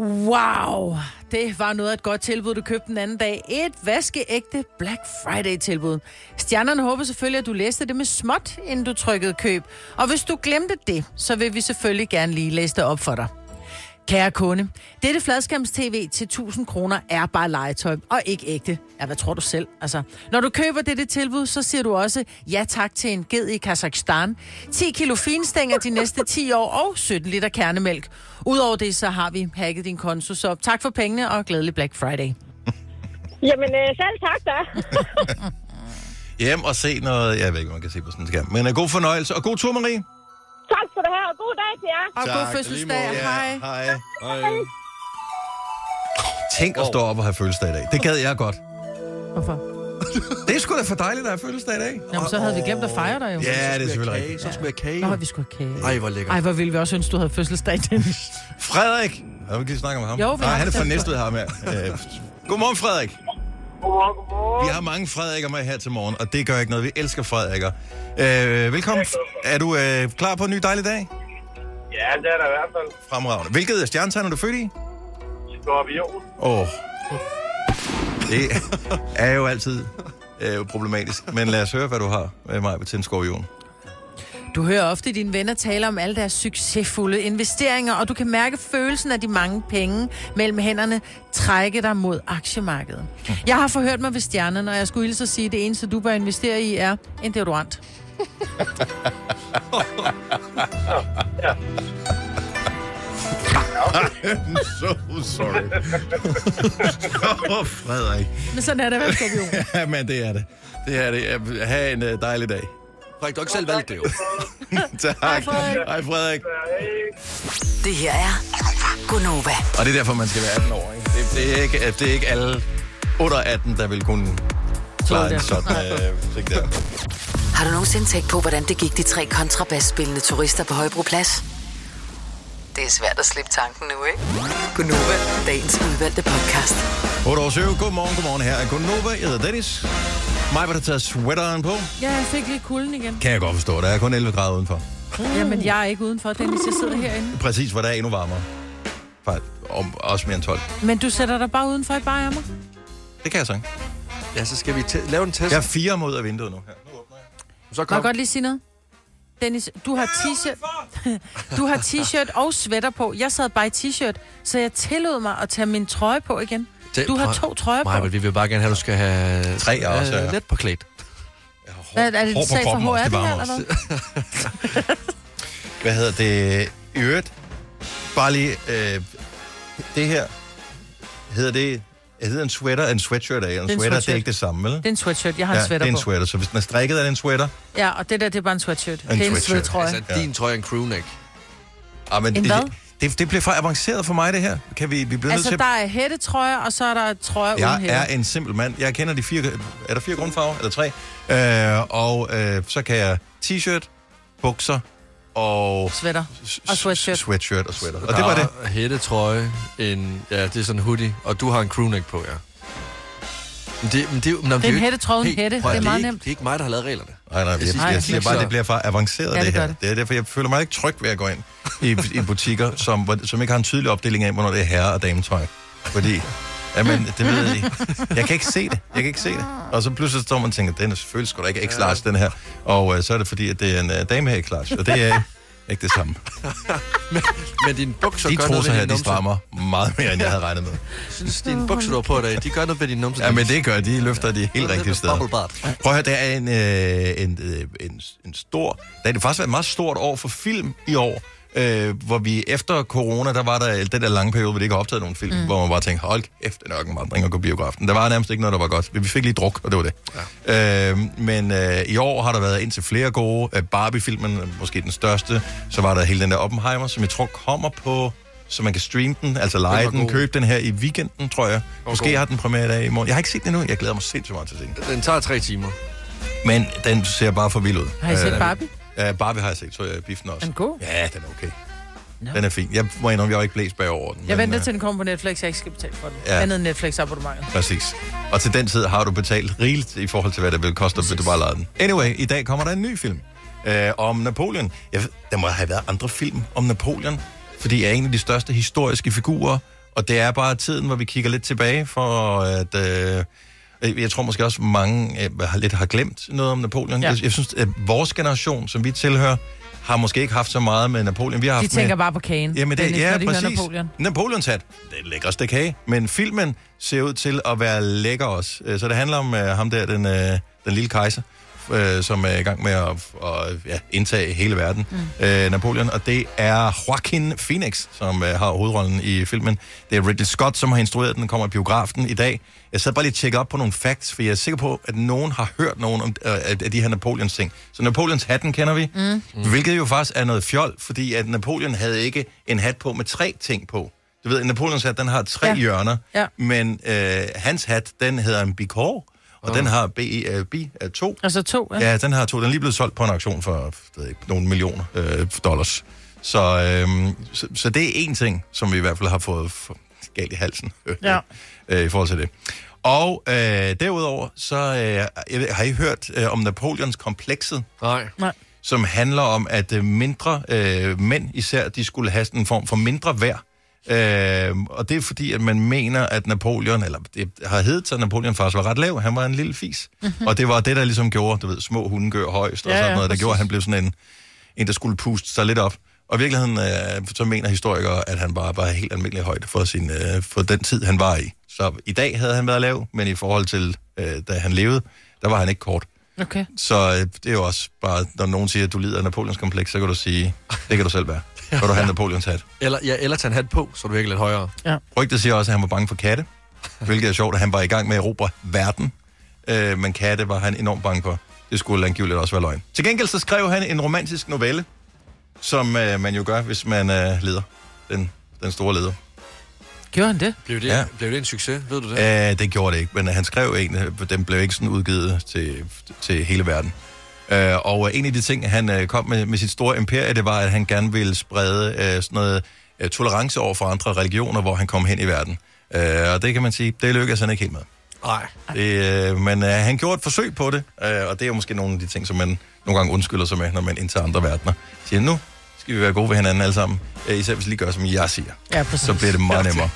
Speaker 2: Wow, det var noget af et godt tilbud, du købte den anden dag. Et vaskeægte Black Friday-tilbud. Stjernerne håber selvfølgelig, at du læste det med småt, inden du trykkede køb. Og hvis du glemte det, så vil vi selvfølgelig gerne lige læse det op for dig. Kære kunde, dette fladskærmstv til 1000 kroner er bare legetøj, og ikke ægte. Ja, hvad tror du selv? Altså, når du køber dette tilbud, så siger du også ja tak til en ged i Kazakhstan, 10 kilo finstænger de næste 10 år og 17 liter kernemælk. Udover det, så har vi hacket din konto, så tak for pengene og glædelig Black Friday.
Speaker 11: Jamen, øh, selv tak da.
Speaker 1: Hjem og se noget. Jeg ved ikke, om man kan se på sådan en skærm. Men øh, god fornøjelse, og god tur, Marie.
Speaker 11: tak skal du have, og god dag til jer.
Speaker 2: Og god
Speaker 1: Tak,
Speaker 2: fødselsdag.
Speaker 1: lige måde. Hej.
Speaker 2: Hej.
Speaker 1: Hej. Tænk at stå op og have fødselsdag i dag. Det gad jeg godt.
Speaker 2: Hvorfor?
Speaker 1: Det er sgu da for dejligt at have fødselsdag i dag.
Speaker 2: Jamen, så havde vi glemt at fejre dig jo.
Speaker 1: Ja, det er selvfølgelig rigtigt.
Speaker 3: Så skulle jeg kage.
Speaker 2: Nå, vi skulle have kage.
Speaker 1: Ej, hvor lækkert.
Speaker 2: Ej, hvor ville vi også ønske, du havde fødselsdag, Dennis.
Speaker 1: Frederik. Jeg vil ikke lige snakke om ham.
Speaker 2: Jo, vi
Speaker 1: Nej,
Speaker 2: har
Speaker 1: han er
Speaker 2: bestemt
Speaker 1: fra Næstved ham her. Øh, Godmorgen, Frederik.
Speaker 10: Godmorgen, godmorgen.
Speaker 1: Vi har mange Frederikker med her til morgen, og det gør ikke noget. Vi elsker Frederikker. Øh, velkommen. Er du øh, klar på en ny dejlig dag?
Speaker 10: Ja, det Altså, er der i hvert fald.
Speaker 1: Fremragende. Hvilket stjernetegn er du født i?
Speaker 10: Skorpion.
Speaker 1: Åh. Oh. Det er jo altid øh, problematisk. Men lad os høre, hvad du har med mig til en skorpion.
Speaker 2: Du hører ofte dine venner tale om alle deres succesfulde investeringer, og du kan mærke følelsen af de mange penge mellem hænderne trække dig mod aktiemarkedet. Jeg har forhørt mig ved stjernen, og jeg skulle hilse at sige, at det eneste, du bør investere i, er en deodorant.
Speaker 1: I'm so sorry. Åh, Frederik.
Speaker 2: Men sådan er det, hvad skal vi jo?
Speaker 1: Ja, men det er det. Det er det. Jeg- Ha' en øh, dejlig dag. Frederik, du har ikke selv valgt det jo. tak. Hej Frederik. Hej Frederik.
Speaker 5: Det her er Gunova.
Speaker 1: Og det er derfor, man skal være 18 år, ikke? Det, det, er, ikke, det er ikke alle under 18, der vil kunne klare en
Speaker 5: det.
Speaker 1: sådan øh, ting der.
Speaker 5: Har du nogensinde tænkt på, hvordan det gik de tre kontrabasspillende turister på Højbroplads? Det er svært at slippe tanken nu, ikke? Gunova, dagens udvalgte podcast.
Speaker 1: 8 år 7. Godmorgen, godmorgen. Her er Gunnova. Jeg hedder Dennis. Mig var der taget sweateren på.
Speaker 2: Ja, jeg fik lidt kulden igen.
Speaker 1: Kan jeg godt forstå. Der er kun 11 grader udenfor.
Speaker 2: Jamen, jeg er ikke udenfor, Dennis. Jeg sidder herinde.
Speaker 1: Præcis, hvor der er endnu varmere. Faktisk, om, også mere end 12.
Speaker 2: Men du sætter dig bare udenfor i barmer.
Speaker 1: Det kan jeg så ikke. Ja, så skal vi lave en test. Jeg er fire mod af vinduet nu. Her. Nu åbner jeg. Så
Speaker 2: Må jeg godt lige sige noget? Dennis, du har t-shirt. Du har t-shirt og sweater på. Jeg sad bare i t-shirt, så jeg tillod mig at tage min trøje på igen. Du har to trøjer på.
Speaker 3: Nej, men vi vil bare gerne have, at du skal have... øh,
Speaker 1: Tre også, ja.
Speaker 3: Let på klædt.
Speaker 2: Hvad, er det
Speaker 3: hår
Speaker 2: en
Speaker 3: på
Speaker 2: sag for
Speaker 3: kroppen
Speaker 2: HR,
Speaker 3: også,
Speaker 2: det
Speaker 3: det
Speaker 2: her,
Speaker 3: varmer
Speaker 2: eller hvad?
Speaker 1: Hvad hedder det? I øvrigt, bare lige, øh, det her, hedder det, jeg hedder en sweater, en sweatshirt af, en
Speaker 2: Det er en
Speaker 1: sweater, det er
Speaker 2: sweatshirt.
Speaker 1: ikke det samme, vel?
Speaker 2: Det er en sweatshirt. Jeg har en sweater
Speaker 1: det er en
Speaker 2: på.
Speaker 1: sweater, så hvis den er strikket, er det en sweater.
Speaker 2: Ja, og det der, det er bare en sweatshirt. det er en
Speaker 1: sweatshirt.
Speaker 2: svedtrøje.
Speaker 1: Altså, din trøje er en crewneck. Ah, men
Speaker 2: En
Speaker 1: det,
Speaker 2: hvad?
Speaker 1: det, det, bliver for avanceret for mig, det her. Kan vi, vi bliver
Speaker 2: Altså,
Speaker 1: nødt
Speaker 2: der
Speaker 1: til...
Speaker 2: er hættetrøjer, og så er der trøjer uden
Speaker 1: Jeg
Speaker 2: hætte.
Speaker 1: er en simpel mand. Jeg kender de fire... Er der fire grundfarver? Eller tre? Øh, og øh, så kan jeg t-shirt, bukser og...
Speaker 2: Sweater. Og sweatshirt.
Speaker 1: Sweatshirt og sweater. Og det var det.
Speaker 3: Hættetrøje, en... Ja, det er sådan en hoodie, og du har en crewneck på, ja. Men det, men det, men,
Speaker 2: Det er en hættetrøje, en hætte.
Speaker 3: prøv at
Speaker 2: Det er meget
Speaker 3: ikke-
Speaker 2: nemt.
Speaker 3: Det er ikke mig, der har lavet reglerne.
Speaker 1: Nej, nej, jeg,
Speaker 3: synes,
Speaker 1: jeg,
Speaker 3: det
Speaker 1: jeg
Speaker 3: er
Speaker 1: siger bare,
Speaker 3: så-
Speaker 1: at det bliver for avanceret,
Speaker 3: Ja,
Speaker 1: ja, det,
Speaker 3: det
Speaker 1: det
Speaker 3: gør
Speaker 1: her. Det. er derfor, jeg føler mig ikke tryg ved at gå ind i, i butikker, som, hvor- som ikke har en tydelig opdeling af, hvornår det er herre- og dametøj. Fordi, jamen, det ved jeg ikke. Jeg kan ikke se det. Jeg kan ikke se det. Og så pludselig står man og tænker, den er selvfølgelig sgu da ikke X-large, den her. Og øh, så er det fordi, at det er en øh, dame her i X-large, og det er ikke det samme.
Speaker 3: Men dine bukser
Speaker 1: De
Speaker 3: gør noget
Speaker 1: trusser
Speaker 3: ved
Speaker 1: her,
Speaker 3: din
Speaker 1: de
Speaker 3: numse.
Speaker 1: strammer meget mere, end jeg havde regnet med.
Speaker 3: synes, dine bukser, du har på i dag, de gør noget ved din numse.
Speaker 1: Ja, men det gør de. Løfter de helt rigtige steder.
Speaker 3: Bubble bath.
Speaker 1: Prøv at høre, det er en, øh, en, øh, en, en stor... Der er det faktisk været et meget stort år for film i år. Øh, hvor vi efter corona, der var der den der lange periode, hvor det ikke har optaget nogen film, mm. hvor man bare tænkte, hold kæft, det er nok en vandring at gå i biografen. Der var nærmest ikke noget, der var godt. Vi fik lige druk, og det var det. Ja. Øh, men øh, i år har der været indtil flere gode. Øh, Barbie-filmen, er måske den største. Så var der hele den der Oppenheimer, som jeg tror kommer på så man kan streame den, altså lege
Speaker 3: var
Speaker 1: den,
Speaker 3: god.
Speaker 1: købe den her i weekenden, tror jeg. Måske
Speaker 3: god.
Speaker 1: har den premiere i dag i morgen. Jeg har ikke set den endnu, jeg glæder mig sindssygt meget til at se den.
Speaker 3: Den tager tre timer.
Speaker 1: Men den ser bare for vild ud.
Speaker 2: Har I set
Speaker 1: Øh,
Speaker 2: Barbie?
Speaker 1: Ja, Barbie har jeg set, så jeg biffen også.
Speaker 2: Er den god?
Speaker 1: Ja, den er okay. No. Den er fin. Jeg må indrømme, jeg var ikke blæst bagover den.
Speaker 2: Jeg
Speaker 1: men,
Speaker 2: venter
Speaker 1: øh,
Speaker 2: til, den kommer på Netflix, jeg ikke skal betale for den.
Speaker 1: Ja.
Speaker 2: Andet end Netflix-abonnementet.
Speaker 1: Præcis. Og til den tid har du betalt rigeligt i forhold til, hvad det vil koste, hvis du bare lejer den. Anyway, i dag kommer der en ny film øh, om Napoleon. Jeg, ved- der må have været andre film om Napoleon, fordi jeg er en af de største historiske figurer, og det er bare tiden, hvor vi kigger lidt tilbage for at... Øh, jeg tror måske også, mange øh, har lidt har glemt noget om Napoleon. Ja.
Speaker 12: Ja.
Speaker 1: Jeg, jeg synes, at vores generation, som vi tilhører, har måske ikke haft så meget med Napoleon. Vi har
Speaker 2: De
Speaker 1: haft
Speaker 2: tænker
Speaker 1: med...
Speaker 2: bare på kagen.
Speaker 1: Jamen det,
Speaker 2: Dennis,
Speaker 1: ja,
Speaker 2: når de hører
Speaker 1: præcis.
Speaker 2: Napoleon.
Speaker 1: Napoleons hat. Det er den lækreste kage, men filmen ser ud til at være lækker også. Øh, Så det handler om øh, ham der, den, øh, den lille kejser, øh, som er i gang med at, at ja, indtage hele verden. Mm. Øh, Napoleon, og det er Joaquin Phoenix, som øh, har hovedrollen i filmen. Det er Ridley Scott, som har instrueret den, kommer i biografen i dag. Jeg sad bare lige og tjekkede op på nogle facts, for jeg er sikker på, at nogen har hørt nogen om øh, af af de her Napoleons ting. Så Napoleons hatten kender vi,
Speaker 12: Mm.
Speaker 1: mm. hvilket jo faktisk er noget fjol, fordi at Napoleon havde ikke en hat på med tre ting på. Du ved, Napoleons hat, den har tre ja. hjørner,
Speaker 2: Ja.
Speaker 1: men øh, hans hat, den hedder en bikår, og oh. den har B-E-R-B, to.
Speaker 2: Altså to,
Speaker 1: Ja, den har to. Den er lige blevet solgt på en auktion for jeg ved ikke, nogle millioner øh, dollars. Så, øh, så, så det er én ting, som vi i hvert fald har fået f- galt i halsen
Speaker 2: Ja.
Speaker 1: øh, i forhold til det. Og øh, derudover, så øh, jeg ved, har I hørt øh, om Napoleons komplekset?
Speaker 3: Nej.
Speaker 2: Nej.
Speaker 1: Som handler om, at øh, mindre øh, mænd især, de skulle have sådan en form for mindre værd. Øh, og det er fordi, at man mener, at Napoleon, eller det har heddet sig, at Napoleon faktisk var ret lav. Han var en lille fis. Mm-hmm. Og det var det, der ligesom gjorde, du ved, små hunde gør højst og
Speaker 13: Ja,
Speaker 1: ja, sådan
Speaker 13: ja,
Speaker 1: noget, der
Speaker 13: præcis.
Speaker 1: gjorde, at han blev sådan en, en, der skulle puste sig lidt op. Og i virkeligheden, øh, så mener historikere, at han bare var helt almindelig højde for, sin, øh, for den tid, han var i. Så i dag havde han været lav, men i forhold til, øh, da han levede, der var han ikke kort.
Speaker 2: Okay.
Speaker 1: Så øh, det er jo også bare, når nogen siger, at du lider af Napoleons kompleks, så kan du sige, det kan du selv være. Kan du have Napoleons hat?
Speaker 3: Eller, ja, eller tage en hat på, så du virker lidt højere.
Speaker 2: Ja.
Speaker 1: Rygtet siger også, at han var bange for katte, hvilket er sjovt, at han var i gang med at erobre verden. Øh, men katte var han enormt bange for. Det skulle angiveligt også være løgn. Til gengæld så skrev han en romantisk novelle, som øh, man jo gør, hvis man øh, leder. Den, den store leder.
Speaker 2: Gjorde han det?
Speaker 3: Blev det,
Speaker 1: Ja.
Speaker 3: ja. blev det en succes, ved du det?
Speaker 1: Øh, det gjorde det ikke, men han skrev en, øh, den blev ikke sådan udgivet til, til hele verden. Øh, og øh, en af de ting, han øh, kom med med sit store imperie, det var, at han gerne ville sprede øh, sådan noget øh, tolerance over for andre religioner, hvor han kom hen i verden. Øh, og det kan man sige, det lykkedes han ikke helt med.
Speaker 3: Nej.
Speaker 1: Det, øh, men øh, han gjorde et forsøg på det, øh, og det er jo måske nogle af de ting, som man nogle gange undskylder sig med, når man indtager andre verdener. Siger, nu skal vi være gode ved hinanden alle sammen, øh, især hvis vi lige gør, som jeg siger.
Speaker 2: Ja, præcis.
Speaker 1: Så bliver det meget nemmere.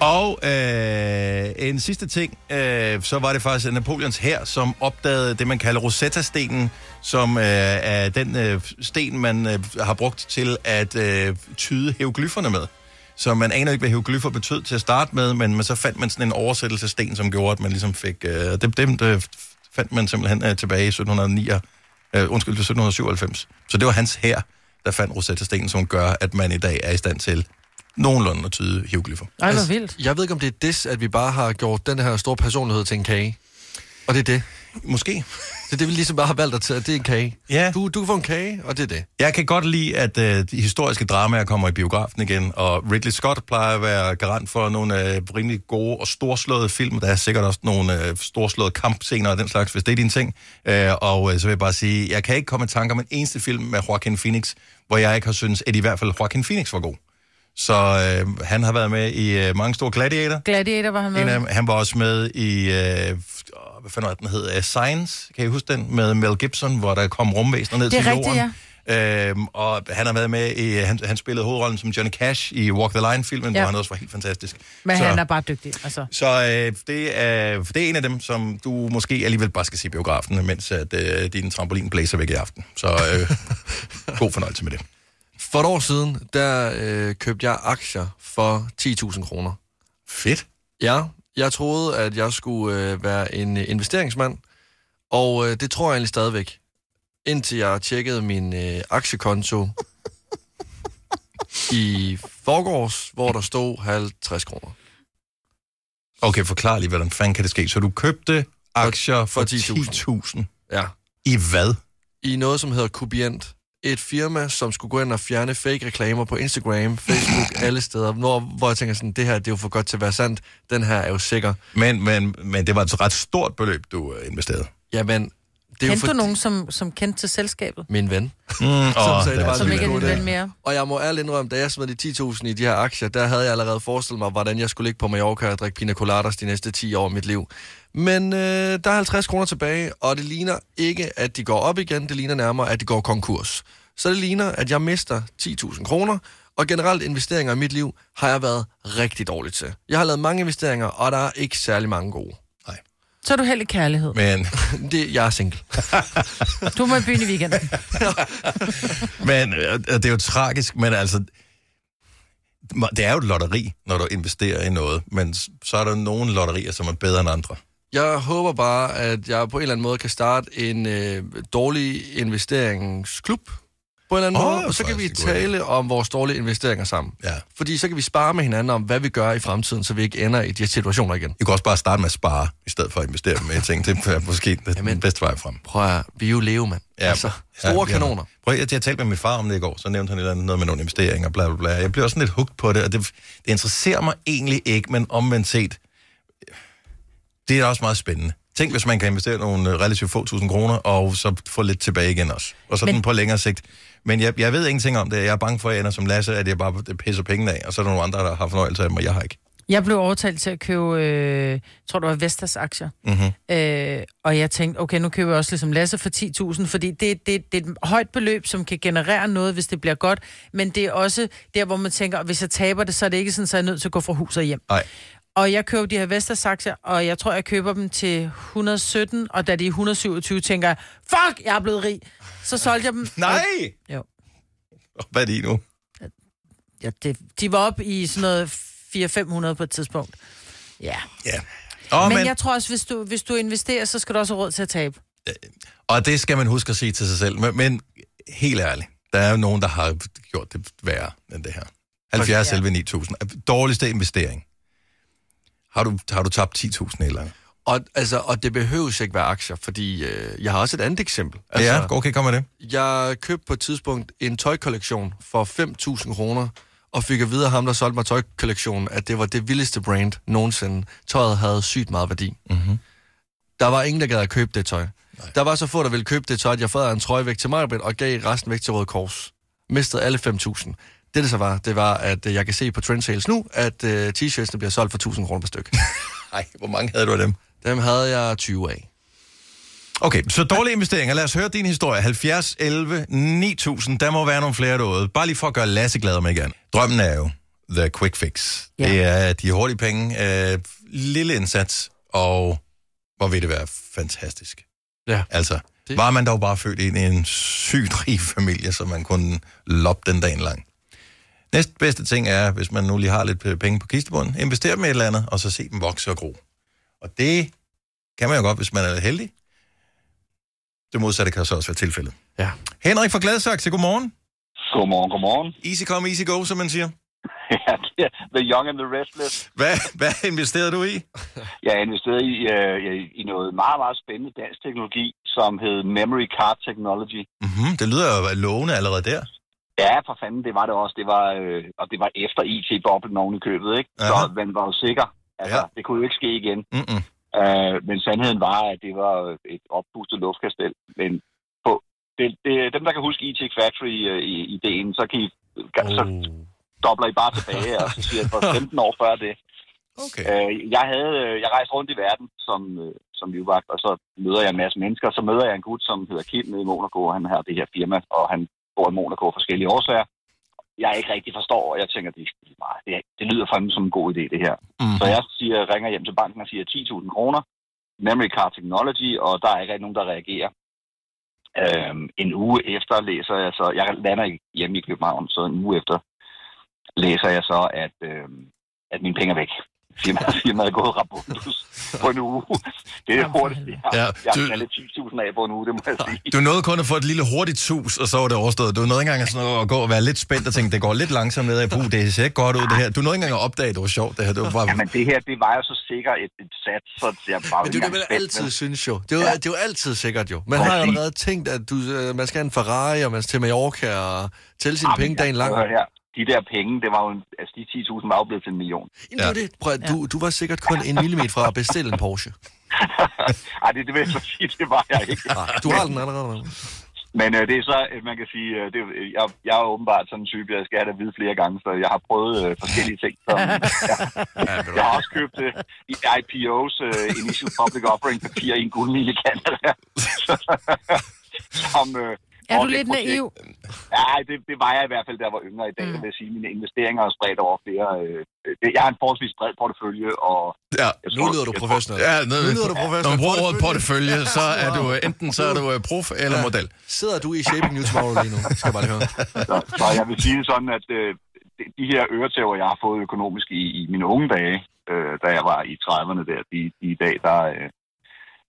Speaker 1: og øh, en sidste ting, øh, så var det faktisk Napoleons hær, som opdagede det, man kalder Rosetta-stenen, som øh, er den øh, sten, man øh, har brugt til at øh, tyde hieroglyferne med. Så man aner ikke, hvad hieroglyffer betød til at starte med, men, men så fandt man sådan en oversættelsessten, som gjorde, at man ligesom fik... Øh, dem, dem øh, fandt man simpelthen øh, tilbage i 1709, øh, undskyld, 1797. Så det var hans her, der fandt Rosetta-stenen, som gør, at man i dag er i stand til nogenlunde at tyde hieroglyffer.
Speaker 2: Ej, hvor vildt.
Speaker 3: Altså, Jeg ved ikke, om det er det, at vi bare har gjort den her store personlighed til en kage. Og det er det.
Speaker 1: Måske.
Speaker 3: Så det vi ligesom bare har valgt at tage, det er en kage.
Speaker 1: Ja.
Speaker 3: Du, du kan få en kage, og det er det.
Speaker 1: Jeg kan godt lide, at øh, de historiske dramaer kommer i biografen igen, og Ridley Scott plejer at være garant for nogle øh, rimelig gode og storslåede film. Der er sikkert også nogle øh, storslåede kampscener og den slags, hvis det er din ting. Øh, og øh, så vil jeg bare sige, jeg kan ikke komme i tanke om en eneste film med Joaquin Phoenix, hvor jeg ikke har syntes, at i hvert fald Joaquin Phoenix var god. Så øh, han har været med i øh, mange store gladiator.
Speaker 2: Gladiator var han med.
Speaker 1: En af, dem- han var også med i, øh, f- åh, hvad fanden var den hed, uh, Science, kan I huske den, med Mel Gibson, hvor der kom rumvæsener ned
Speaker 2: Det er
Speaker 1: til
Speaker 2: rigtigt,
Speaker 1: jorden. Øhm, og han har været med i, han, han spillede hovedrollen som Johnny Cash i Walk the Line-filmen,
Speaker 2: Ja.
Speaker 1: ja. hvor han også var helt fantastisk.
Speaker 2: Men
Speaker 1: så
Speaker 2: han er bare dygtig, altså.
Speaker 1: så øh, det, er, det er en af dem, som du måske alligevel bare skal se i biografen, mens at, øh, din trampolin blæser væk i aften. Så øh, god fornøjelse med det.
Speaker 3: For et år siden, der øh, købte jeg aktier for 10.000 kroner.
Speaker 1: Fedt.
Speaker 3: Ja, jeg troede, at jeg skulle øh, være en øh, investeringsmand, og øh, det tror jeg egentlig stadigvæk, indtil jeg tjekkede min øh, aktiekonto i forgårs, hvor der stod 50 kroner.
Speaker 1: Okay, forklar lige, hvordan fanden kan det ske? Så du købte aktier for,
Speaker 3: for
Speaker 1: for 10.000. 10.000?
Speaker 3: Ja.
Speaker 1: I hvad?
Speaker 3: I noget, som hedder Kubient. Et firma, som skulle gå ind og fjerne fake reklamer på Instagram, Facebook, alle steder, hvor, hvor jeg tænker sådan, det her det er jo for godt til at være sandt, den her er jo sikker.
Speaker 1: Men, men, men det var altså et ret stort beløb, du øh, investerede.
Speaker 3: Jamen, det er jo
Speaker 2: Kendte
Speaker 3: for...
Speaker 2: du nogen, som, som kendte til selskabet?
Speaker 3: Min ven.
Speaker 1: Mm, åh,
Speaker 2: det er Som ikke er din ven mere.
Speaker 3: Og jeg må ærligt indrømme, da jeg smed de 10.000 i de her aktier, der havde jeg allerede forestillet mig, hvordan jeg skulle ligge på Mallorca og drikke pina coladas de næste 10 år af mit liv. Men øh, der er 50 kroner tilbage, og det ligner ikke, at de går op igen. Det ligner nærmere, at de går konkurs. Så det ligner, at jeg mister 10.000 kroner, og generelt investeringer i mit liv har jeg været rigtig dårlig til. Jeg har lavet mange investeringer, og der er ikke særlig mange gode.
Speaker 2: Så er du heldig kærlighed.
Speaker 1: Men...
Speaker 3: det, jeg er single.
Speaker 2: Du må i byen i weekenden.
Speaker 1: Men øh, og det er jo tragisk, men altså... Det er jo et lotteri, når du investerer i noget, men s- så er der nogle lotterier, som er bedre end andre.
Speaker 3: Jeg håber bare, at jeg på en eller anden måde kan starte en øh, dårlig investeringsklub på en eller anden
Speaker 1: Åh,
Speaker 3: oh, måde, og så kan vi
Speaker 1: faktisk en god idé.
Speaker 3: tale om vores dårlige investeringer sammen.
Speaker 1: Ja.
Speaker 3: Fordi så kan vi spare med hinanden om, hvad vi gør i fremtiden, så vi ikke ender i de her situationer igen.
Speaker 1: Du kan også bare starte med at spare, i stedet for at investere med ting. Det er måske det den bedste vej frem.
Speaker 3: Prøv at vi er jo leve, mand. Altså, store kanoner.
Speaker 1: Prøv, at- jeg, jeg talte med min far om det i går, så nævnte han et eller andet noget med nogle investeringer, bla bla bla. Jeg blev også sådan lidt hugt på det, og det, det interesserer mig egentlig ikke, men omvendt set, det er også meget spændende. Tænk, hvis man kan investere nogle øh, relativt få tusind kroner, og så få lidt tilbage igen også. Og sådan
Speaker 2: Men-
Speaker 1: men... på længere sigt. Men jeg, jeg ved ingenting om det. Jeg er bange for, at jeg ender som Lasse, at jeg bare øh, pisser pengene af, og så er der nogle andre, der har fornøjelse af dem, og jeg har ikke.
Speaker 2: Jeg blev overtalt til at købe, øh, jeg tror det var Vestas aktier.
Speaker 1: Mm-hmm.
Speaker 2: Øh, og jeg tænkte, okay, nu køber jeg også ligesom Lasse for 10.000, fordi det, det, det er et højt beløb, som kan generere noget, hvis det bliver godt. Men det er også der, hvor man tænker, hvis jeg taber det, så er det ikke sådan, så er jeg nødt til at gå fra hus og hjem.
Speaker 1: Nej.
Speaker 2: Og jeg køber de her Vestas aktier, og jeg tror, jeg køber dem til 117, og da de er 127, tænker jeg, fuck, jeg er blevet rig. Så solgte jeg dem.
Speaker 1: Nej!
Speaker 2: Jo.
Speaker 1: Hvad er de nu?
Speaker 2: Ja, det, de var op i sådan noget 400-500 på et tidspunkt. Ja.
Speaker 1: Ja.
Speaker 2: Oh,
Speaker 1: Åh,
Speaker 2: men, men jeg tror også, hvis du, hvis du investerer, så skal du også have råd til at tabe.
Speaker 1: Og det skal man huske at sige til sig selv. Men, men helt ærligt, der er jo nogen, der har gjort det værre end det her. 70 11 9000. Dårligste investering. Har du, har du tabt 10.000 eller andet?
Speaker 3: Og, altså, og det behøves ikke være aktier, fordi øh, jeg har også et andet eksempel. Altså,
Speaker 1: ja, okay, kommer det.
Speaker 3: Jeg købte på et tidspunkt en tøjkollektion for 5.000 kroner, og fik at vide af ham, der solgte mig tøjkollektionen, at det var det vildeste brand nogensinde. Tøjet havde sygt meget værdi.
Speaker 1: Mm-hmm.
Speaker 3: Der var ingen, der gad at købe det tøj. Nej. Der var så få, der ville købe det tøj, at jeg fadrede en trøje væk til mig, og gav resten væk til Røde Kors. Mistede alle 5.000. Det, det så var, det var, at øh, jeg kan se på Trendsales nu, at uh, t-shirtsene bliver solgt for 1.000 kroner per stykke.
Speaker 1: Nej, hvor mange havde du af dem?
Speaker 3: Dem havde jeg 20 af.
Speaker 1: Okay, så dårlige investeringer. Lad os høre din historie. 70 11 9000. Der må være nogle flere derude. Bare lige for at gøre Lasse glad om igen. Drømmen er jo the quick fix. Ja. Det er de hurtige penge, øh, lille indsats, og hvor vil det være fantastisk.
Speaker 3: Ja.
Speaker 1: Altså, det... var man dog bare født ind i en sygt rig familie, så man kunne loppe den dagen lang. Næst bedste ting er, hvis man nu lige har lidt øh, penge på kistebunden, investere dem i et eller andet, og så se dem vokse og gro. Og det kan man jo godt, hvis man er heldig. Det modsatte kan så også være tilfældet.
Speaker 3: Ja.
Speaker 1: Henrik fra Gladsaxe, godmorgen.
Speaker 12: Godmorgen, godmorgen.
Speaker 1: Easy come, easy go, som man siger.
Speaker 12: the young and the restless.
Speaker 1: Hvad, hvad investerede du i?
Speaker 12: Jeg investerede i, øh, i- i noget meget, meget spændende dansk teknologi, som hed Memory Card Technology.
Speaker 1: Mm-hmm, det lyder jo lovende allerede der.
Speaker 12: Ja, for fanden, det var det også. Det var, øh, og det var efter IT-boblen oven i købet, ikke? Så
Speaker 1: Aha.
Speaker 12: man var jo sikker. Altså, ja. det kunne jo ikke ske igen.
Speaker 1: Mm-mm.
Speaker 12: Øh, men sandheden var, at det var et opbustet luftkastel. Men på det, det, dem, der kan huske IT Factory-ideen, så, kan øh, I, så dobler I bare tilbage, og så siger jeg, for 15 år før det.
Speaker 1: Okay.
Speaker 12: Øh, jeg, havde, øh, jeg rejste rundt i verden som, øh, som livvagt, og så møder jeg en masse mennesker. Så møder jeg en gut, som hedder Kim nede i Monaco, og han har det her firma, og han bor i Monaco af forskellige årsager. Jeg ikke rigtig forstår, og jeg tænker, det, er lige meget. det, det lyder fandme som en god idé, det her.
Speaker 1: Mm.
Speaker 12: Så jeg siger, ringer hjem til banken og siger 10.000 kroner, memory card technology, og der er ikke rigtig nogen, der reagerer. Øhm, en uge efter læser jeg så, jeg lander ikke hjemme i København, så en uge efter læser jeg så, at, øhm, at mine penge er væk. Firmaet, firmaet er gået rabundus på en uge. Det er hurtigt. Jeg,
Speaker 1: Ja,
Speaker 12: ja, jeg
Speaker 1: du-
Speaker 12: har knaldet 10.000 af på en uge, det må jeg sige.
Speaker 1: Du nåede kun at få et lille hurtigt sus, og så var det overstået. Du nåede ikke engang sådan at gå og være lidt spændt og tænke, det går lidt langsomt nedad i brug, det ser ikke godt ud det her. Du nåede ikke engang at opdage, det var sjovt det her. Det var bare...
Speaker 12: Jamen, det her, det var jo så sikkert et, et sat, så jeg bare
Speaker 3: Men det er jo det, man altid synes jo. Det er jo,
Speaker 12: Ja.
Speaker 3: ja. det er jo altid sikkert jo. Man
Speaker 12: Præcis.
Speaker 3: har jo allerede tænkt, at du, øh, man skal have en Ferrari, og man skal til Mallorca, og tælle
Speaker 12: Ah,
Speaker 3: sine penge dagen lang.
Speaker 12: Hør her. De der penge, det var jo, en- altså de 10.000 var jo blevet til en million.
Speaker 3: Jamen, det er jo det. Prøv, at- du, du var sikkert kun en millimeter fra at bestille en Porsche.
Speaker 12: Ej, det, det vil jeg så sige, det var jeg ikke.
Speaker 3: Nej, du har den allerede.
Speaker 12: Men øh, det er så, at man kan sige, øh, det, er- jeg, jeg er åbenbart sådan en type, jeg skal have det at vide flere gange, så jeg har prøvet øh, forskellige ting. Som, ja. Jeg har også købt øh, i IPO's øh, Initial Public Offering papir i en guldmine i Canada, som, øh,
Speaker 2: Er
Speaker 12: Og
Speaker 2: du
Speaker 12: det
Speaker 2: lidt
Speaker 12: projekt-
Speaker 2: naiv?
Speaker 12: Nej, det, det var jeg i hvert fald, da jeg var yngre. I dag mm. vil jeg sige, at mine investeringer er spredt over flere. Øh, det- jeg har en forholdsvis bred portefølje, og
Speaker 1: Ja.
Speaker 12: Nu lyder du professionel.
Speaker 1: Ja, nu,
Speaker 12: Nu lyder du professionel.
Speaker 1: Når man bruger ordet portefølje, så er
Speaker 12: Wow.
Speaker 1: du øh, enten så er du øh, prof eller model.
Speaker 3: Sidder du i Shaping New Tomorrow lige nu? Skal jeg bare lige høre.
Speaker 12: så, så jeg vil sige det sådan, at øh, de, de her øretæver, jeg har fået økonomisk i, i mine unge dage, øh, da jeg var i 30'erne der, de, de i dag, der, øh,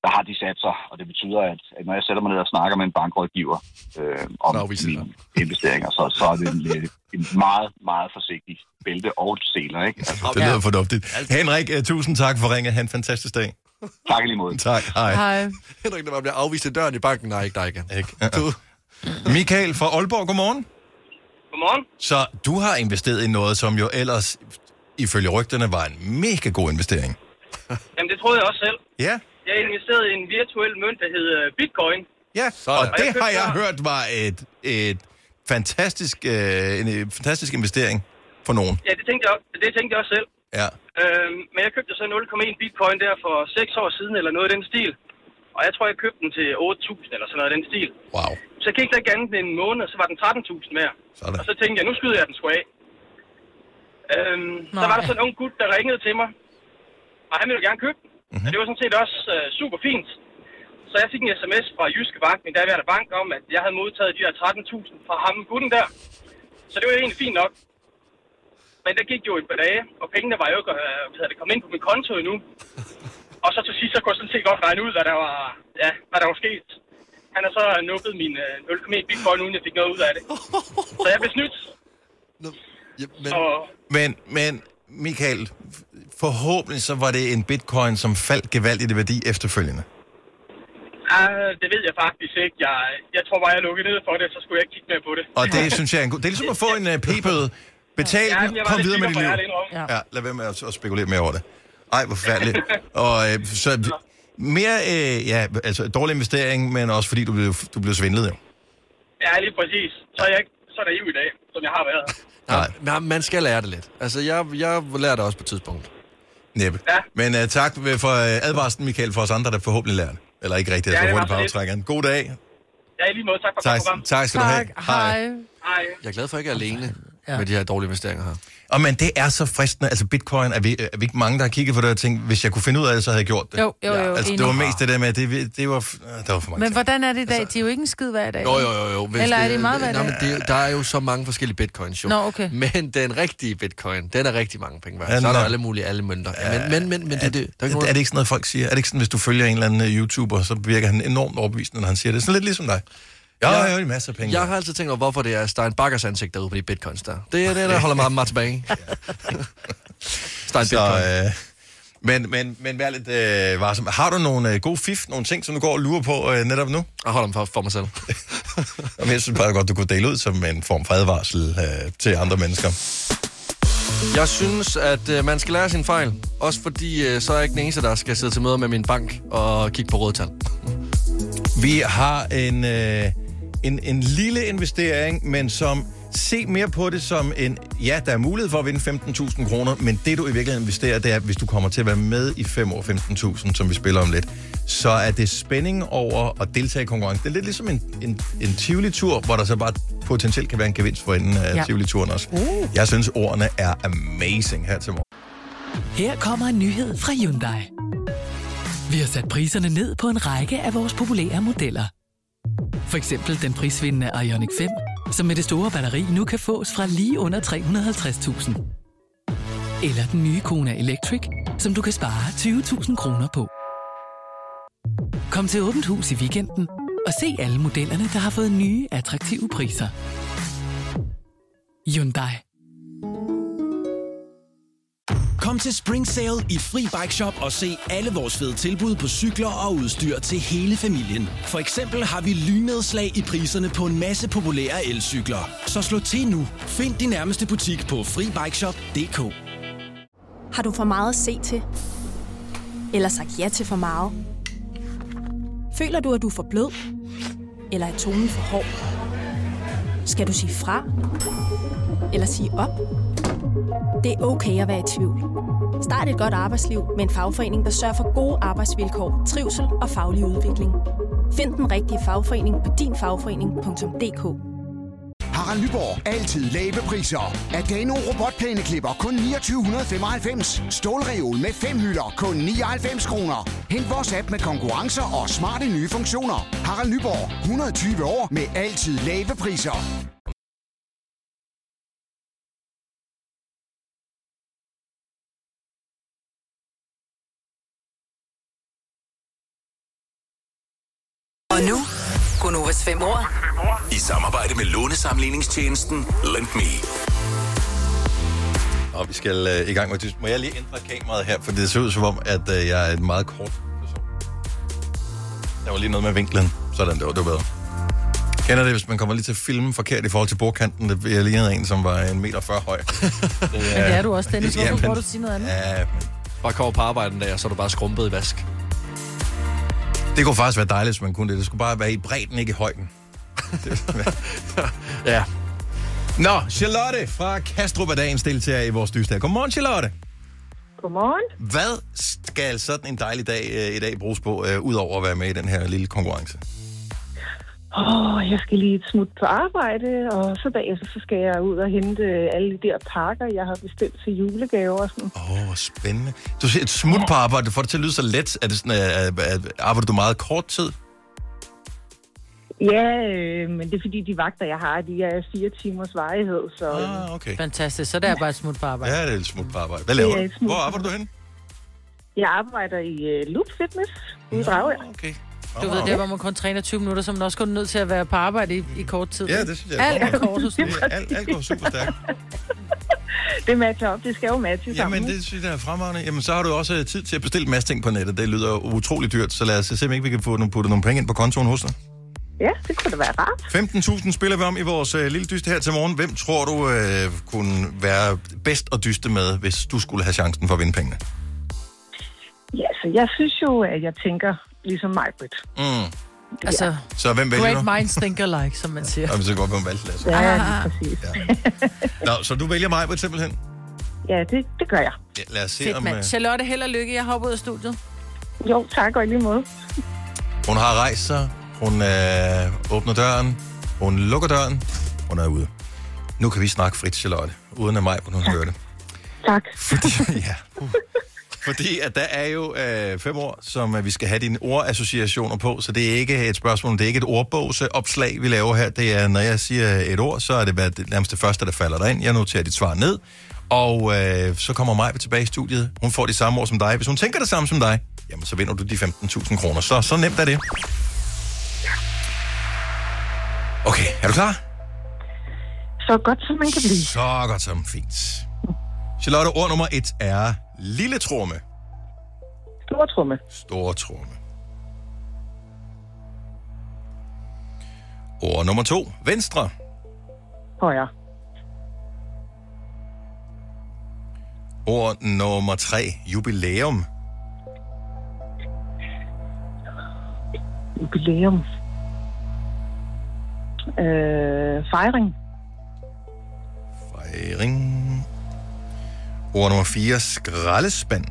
Speaker 12: der har de sat sig. Og det betyder, at, at når jeg sætter mig ned og snakker med en bankrådgiver øh, om Nå, mine investeringer, så, så er det en, øh, en meget, meget forsigtig bælte og seler. Ikke? Altså,
Speaker 1: Det lyder fornuftigt. Henrik, øh, tusind tak for ringet. Han en fantastisk dag.
Speaker 12: Tak lige måde.
Speaker 1: Tak, hej.
Speaker 3: Henrik, der bare bliver afvist i døren i banken. Nej, ikke dig igen.
Speaker 1: Ikke? Du. Michael fra Aalborg, godmorgen.
Speaker 10: Godmorgen.
Speaker 1: Så du har investeret i noget, som jo ellers, ifølge rygterne, var en mega god investering.
Speaker 10: Jamen, det troede jeg også selv.
Speaker 1: Ja.
Speaker 10: Jeg investerede i en virtuel mønt, der hed øh, Bitcoin.
Speaker 1: Ja, Sådan. og det har jeg hørt var et, et fantastisk, øh, en øh, fantastisk investering for nogen.
Speaker 10: Ja, det tænkte jeg, også- det tænkte jeg også selv.
Speaker 1: Ja.
Speaker 10: Øhm, men jeg købte så 0,1 bitcoin der for 6 år siden, eller noget i den stil. Og jeg tror, jeg købte den til 8.000 eller sådan noget i den stil.
Speaker 1: Wow.
Speaker 10: Så gik der ikke andet end en måned, og så var den 13.000 mere.
Speaker 1: Sådan.
Speaker 10: Og så tænkte jeg, nu skyder jeg den sgu af. Øhm, så var der sådan en ung gut, der ringede til mig, og han ville gerne købe den.
Speaker 1: Mhm.
Speaker 10: Mm-hmm. Det var sådan set også øh, super fint. Så jeg fik en sms fra Jyske Bank, min daværende bank, om, at jeg havde modtaget de her 13.000 fra ham, gutten der. Så det var jo egentlig fint nok. Men der gik jo et par dage, og pengene var jo ikke øh, hvad hedder det kommet ind på min konto endnu. Og så til sidst, så kunne jeg sådan set godt regne ud, hvad der var, ja, hvad der var sket. Han har så nuppet min øh, 0,1 bitcoin, uden jeg fik noget ud af det. Så jeg blev snydt.
Speaker 3: men...
Speaker 10: Så
Speaker 1: Men, men Michael, forhåbentlig så var det en bitcoin, som faldt gevaldigt i værdi efterfølgende.
Speaker 10: ah, det ved jeg faktisk ikke. Jeg, jeg tror bare, jeg lukkede ned for det, så skulle jeg ikke kigge mere på det.
Speaker 1: Og det synes jeg er en god... Det er ligesom at få en øh, p-bøde. Betal
Speaker 10: Ja,
Speaker 1: den,
Speaker 10: men jeg var
Speaker 1: kom
Speaker 10: lidt
Speaker 1: videre med dit liv.
Speaker 10: sikker på, jeg er det indrømme.
Speaker 1: Ja, lad være med at, at spekulere mere over det. Ej, hvor færdeligt. og øh, så mere, øh, ja, altså dårlig investering, men også fordi du blev, du blev svindlet, jo.
Speaker 10: Ja, lige præcis. Så er jeg ikke så naiv i dag, som jeg har været.
Speaker 1: Nej.
Speaker 3: Men man skal lære det lidt. Altså, jeg, jeg lærer det også på et tidspunkt.
Speaker 1: Næppe. Ja. Men uh, tak ved- for uh, advarslen, Michael, for os andre, der forhåbentlig lærer det. Eller ikke rigtigt,
Speaker 10: Ja,
Speaker 1: altså
Speaker 10: det var
Speaker 1: hurtigt på
Speaker 10: så lidt.
Speaker 1: aftrækkeren. God dag.
Speaker 10: Ja, i lige måde. Tak for
Speaker 1: Tak,
Speaker 10: godt program.
Speaker 1: tak skal du have. Hej.
Speaker 10: Hej.
Speaker 3: Jeg er glad for, at jeg er alene ja. med de her dårlige investeringer her.
Speaker 1: Og men det er så fristende. Altså bitcoin, er vi, er vi ikke mange, der har kigget på det og tænkt, hvis jeg kunne finde ud af det, så havde jeg gjort det.
Speaker 2: Jo, jo, jo,
Speaker 1: Altså, det
Speaker 2: enig.
Speaker 1: var mest det Altså- der med, at det, det var, f- ah, der var for mange.
Speaker 2: Men hvordan er det i dag? De er jo ikke en skid hver dag.
Speaker 3: Jo, jo, jo. jo. Hvis
Speaker 2: Øh, Eller er det meget hver
Speaker 3: Nå, men
Speaker 2: dag?
Speaker 3: det, der er jo så mange forskellige bitcoins, jo.
Speaker 2: Nå, okay.
Speaker 3: Men den rigtige bitcoin, den er rigtig mange penge værd.
Speaker 1: Ja,
Speaker 3: så er der
Speaker 1: nå.
Speaker 3: alle mulige alle mønter. Ja, men, men, men, men det, det, der er ikke
Speaker 1: Er,
Speaker 3: nogen-
Speaker 1: er det ikke sådan noget, folk siger? Er det ikke sådan, hvis du følger en eller anden øh, YouTuber, så virker han enormt overbevisende, når han siger det? Sådan lidt ligesom dig. Jeg har jo en masse penge.
Speaker 3: Jeg har altid tænkt over, hvorfor det er Stein Bakkers ansigt derude på de bitcoins der. Det er det, der holder mig meget tilbage. Stein
Speaker 1: Så, øh, men, men, men vær lidt øh, varsom. Har du nogle øh, gode fif, nogle ting, som du går og lurer på øh, netop nu?
Speaker 3: Jeg holder dem for, for mig selv.
Speaker 1: Jamen, jeg synes bare godt, du kunne dele ud som en form for advarsel øh, til andre mennesker.
Speaker 3: Jeg synes, at øh, man skal lære sin fejl. Også fordi, øh, så er jeg ikke den eneste, der skal sidde til møder med min bank og kigge på rådtal.
Speaker 1: Vi har en, øh, en, en lille investering, men som se mere på det som en, ja, der er mulighed for at vinde 15.000 kroner, men det du i virkeligheden investerer, det er, hvis du kommer til at være med i 5 år 15.000, som vi spiller om lidt, så er det spænding over at deltage i konkurrencen. Det er lidt ligesom en, en, en Tivoli-tur, hvor der så bare potentielt kan være en gevinst for enden af
Speaker 13: Ja.
Speaker 1: ja. Tivoli-turen også.
Speaker 13: Uh.
Speaker 1: Jeg synes, ordene er amazing her til morgen.
Speaker 13: Her kommer en nyhed fra Hyundai. Vi har sat priserne ned på en række af vores populære modeller. For eksempel den prisvindende Ioniq 5, som med det store batteri nu kan fås fra lige under 350.000. Eller den nye Kona Electric, som du kan spare 20.000 kroner på. Kom til Åbent Hus i weekenden og se alle modellerne, der har fået nye, attraktive priser. Hyundai.
Speaker 14: Kom til Spring Sale i Fri Bike Shop og se alle vores fede tilbud på cykler og udstyr til hele familien. For eksempel har vi lynedslag i priserne på en masse populære elcykler. Så slå til nu. Find din nærmeste butik på FriBikeShop.dk
Speaker 15: Har du for meget at se til? Eller sagt ja til for meget? Føler du, at du er for blød? Eller er tonen for hård? Skal du sige fra? Eller sige op? Det er okay at være i tvivl. Start et godt arbejdsliv med en fagforening, der sørger for gode arbejdsvilkår, trivsel og faglig udvikling. Find den rigtige fagforening på dinfagforening.dk.
Speaker 16: Harald Nyborg. Altid lave priser. Adano robotplæneklipper kun 2995. Stålreol med fem hylder kun 99 kroner. Hent vores app med konkurrencer og smarte nye funktioner. Harald Nyborg. 120 år med altid lave priser.
Speaker 5: Og nu, Gunovas fem år.
Speaker 8: I samarbejde med lånesamligningstjenesten Lend Me.
Speaker 1: Og vi skal øh, i gang med... Må jeg lige ændre kameraet her, for det ser ud som om, at øh, jeg er en meget kort person. Der var lige noget med vinklen. Sådan, det var, det var bedre. Kender det, hvis man kommer lige til at filme forkert i forhold til bordkanten, det jeg lignede en, som var en meter før høj. Det, men
Speaker 2: Men det er du også, Dennis. Hvorfor bruger du til noget andet?
Speaker 1: Ja, men...
Speaker 3: Bare kommer på arbejde en dag, og så er du bare skrumpet i vask.
Speaker 1: Det kunne faktisk være dejligt, hvis man kunne det. Det skulle bare være i bredden, ikke i højden.
Speaker 3: ja.
Speaker 1: Nå, Charlotte fra Kastrup er dagens deltager i vores dyst her. Godmorgen, Charlotte.
Speaker 11: Godmorgen.
Speaker 1: Hvad skal sådan en dejlig dag øh, i dag bruges på, øh, udover at være med i den her lille konkurrence?
Speaker 11: Åh, oh, jeg skal lige et smut på arbejde, og så bagefter så skal jeg ud og hente øh, alle de der pakker, jeg har bestilt til julegaver og sådan.
Speaker 1: Åh, oh, hvor spændende. Du siger et smut på arbejde. Du får det til at lyde så let. Er det sådan, at, at arbejder du meget kort tid?
Speaker 11: Ja, øh, men det er fordi, de vagter, jeg har, de er fire timers varighed, så... øh,
Speaker 1: Ah, okay.
Speaker 2: Fantastisk. Så der er bare et smut på arbejde.
Speaker 1: Ja, det er et smut på arbejde. Hvad laver
Speaker 11: Det er
Speaker 1: du?
Speaker 11: et smut
Speaker 1: Hvor
Speaker 11: på
Speaker 1: arbejder du henne?
Speaker 11: Jeg arbejder i øh, Loop Fitness ude i Dragør.
Speaker 1: Ah, okay.
Speaker 2: Du ved, der hvor man kun træner 20 minutter, så man også kun er nødt til at være på arbejde i, i kort tid.
Speaker 1: Ah, Ja, det synes jeg.
Speaker 2: Alt er kort hos
Speaker 1: Det er- Alt, alt går super stærkt.
Speaker 11: Det matcher op, det skal jo matche sammen.
Speaker 1: Jamen, det synes jeg er fremragende. Jamen, så har du også øh, tid til at bestille en masse ting på nettet. Det lyder utrolig dyrt, så lad os øh, se, om ikke vi kan få nogle, putte nogle penge ind på kontoen hos dig.
Speaker 11: Ja, det kunne da være rart.
Speaker 1: 15.000 spiller vi om i vores øh, lille dyste her til morgen. Hvem tror du øh, kunne være bedst at dyste med, hvis du skulle have chancen for at vinde pengene?
Speaker 11: Ja, så jeg synes jo, at jeg tænker ligesom mig, Britt.
Speaker 1: Mm.
Speaker 2: Altså,
Speaker 1: Så hvem vælger du?
Speaker 2: great minds think alike, som man siger.
Speaker 1: Jamen, så går vi om valgte Lasse.
Speaker 11: Ja,
Speaker 2: Ah.
Speaker 11: lige præcis.
Speaker 1: Nå, så du vælger mig på simpelthen?
Speaker 11: Ja, det, det gør jeg.
Speaker 1: Ja, lad os se,
Speaker 2: Fedt,
Speaker 1: om...
Speaker 2: mand.
Speaker 1: øh,
Speaker 2: Charlotte, held og lykke. Jeg hopper ud af studiet.
Speaker 11: Jo, tak og i lige måde.
Speaker 1: Hun har rejst sig, hun øh, åbner døren, hun lukker døren, hun er ude. Nu kan vi snakke frit, Charlotte, uden at mig, hvor hun hører det.
Speaker 11: Tak.
Speaker 1: Fordi, ja. Uh. Fordi at der er jo øh, fem år, som øh, vi skal have dine ordassociationer på, så det er ikke et spørgsmål, det er ikke et ordbogsopslag, vi laver her. Det er, når jeg siger et ord, så er det, hvad det nærmest det første, der falder dig ind. Jeg noterer dit svar ned, og øh, så kommer Maja tilbage i studiet. Hun får de samme ord som dig. Hvis hun tænker det samme som dig, jamen så vinder du de 15.000 kroner. Så, så nemt er det. Okay, er du klar?
Speaker 11: Så godt, som man kan blive.
Speaker 1: Så godt som fint. Charlotte, ord nummer et er lille tromme.
Speaker 11: Stor tromme.
Speaker 1: Store tromme. Ord nummer to, venstre.
Speaker 11: Højre.
Speaker 1: Ord nummer tre, jubilæum.
Speaker 11: Jubilæum. Øh, fejring.
Speaker 1: Fejring. Ord nummer fire, skraldespand.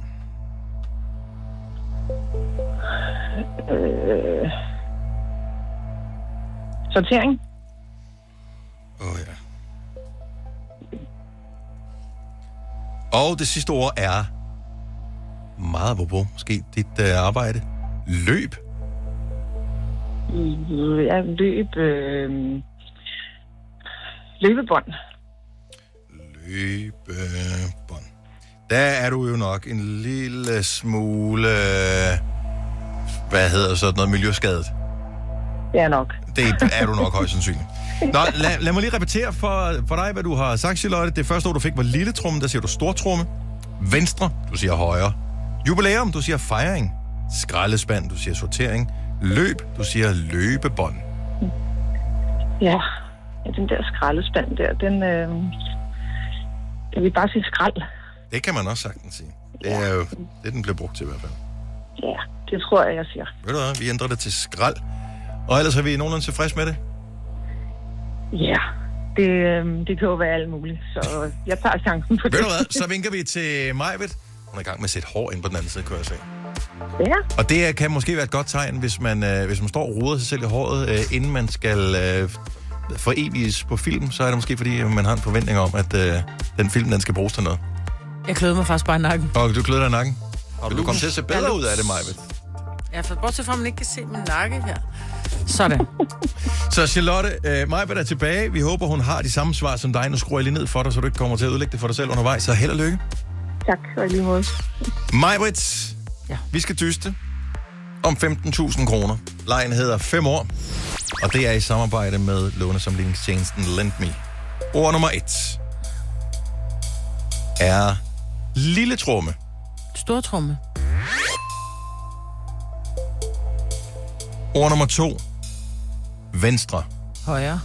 Speaker 11: Øh, sortering.
Speaker 1: Åh oh, ja. Og det sidste ord er meget apropos, måske dit øh, arbejde. Løb.
Speaker 11: Øh, Ja, løb. Øh, løbebånd.
Speaker 1: Løbebånd. Der er du jo nok en lille smule... øh, Hvad hedder sådan noget? Miljøskadet.
Speaker 11: Ja, nok.
Speaker 1: Det er du nok højst sandsynligt. Nå, lad, lad mig lige repetere for, for dig, hvad du har sagt, Charlotte. Det første ord, du fik, var lille tromme. Der siger du stortromme. Venstre, du siger højre. Jubilæum, du siger fejring. Skraldespand, du siger sortering. Løb, du siger løbebånd.
Speaker 11: Ja. ja den der skraldespand der, den... Øh, jeg vil bare sige skrald.
Speaker 1: Det kan man også sagtens sige. Det er jo det, den bliver brugt til i hvert fald.
Speaker 11: Ja, det tror jeg, jeg siger.
Speaker 1: Ved du hvad, vi ændrer det til skrald. Og ellers er vi nogenlunde tilfredse med det.
Speaker 11: Ja, det, øh, det kan jo være alt muligt, så jeg tager chancen på det.
Speaker 1: Ved du hvad, så vinker vi til Majved. Hun er i gang med at sætte hår ind på den anden side, kører jeg se.
Speaker 11: Ja.
Speaker 1: Og det øh, kan måske være et godt tegn, hvis man, øh, hvis man står og roder sig selv i håret, øh, inden man skal øh, foreviges på film, så er det måske fordi, øh, man har en forventning om, at øh, den film, den skal bruges til noget.
Speaker 2: Jeg kløede mig faktisk bare i nakken.
Speaker 1: Og du kløder dig i nakken. Og du kommer til at se bedre ud af det, Majbet.
Speaker 2: Ja, for bortset fra, at man ikke kan se min nakke her. Sådan.
Speaker 1: Så Charlotte, øh, Majbet er tilbage. Vi håber, hun har de samme svar som dig. Nu skruer jeg lige ned for dig, så du ikke kommer til at ødelægge det for dig selv undervejs. Så held og lykke.
Speaker 11: Tak, og i lige måde.
Speaker 1: Majbrit, ja. vi skal dyste om 15.000 kroner. Lejen hedder 5 år, og det er i samarbejde med lånesamligningstjenesten LendMe. Ord nummer 1 er lille tromme.
Speaker 2: Stortrumme.
Speaker 1: Ord nummer 2 venstre.
Speaker 2: Højre.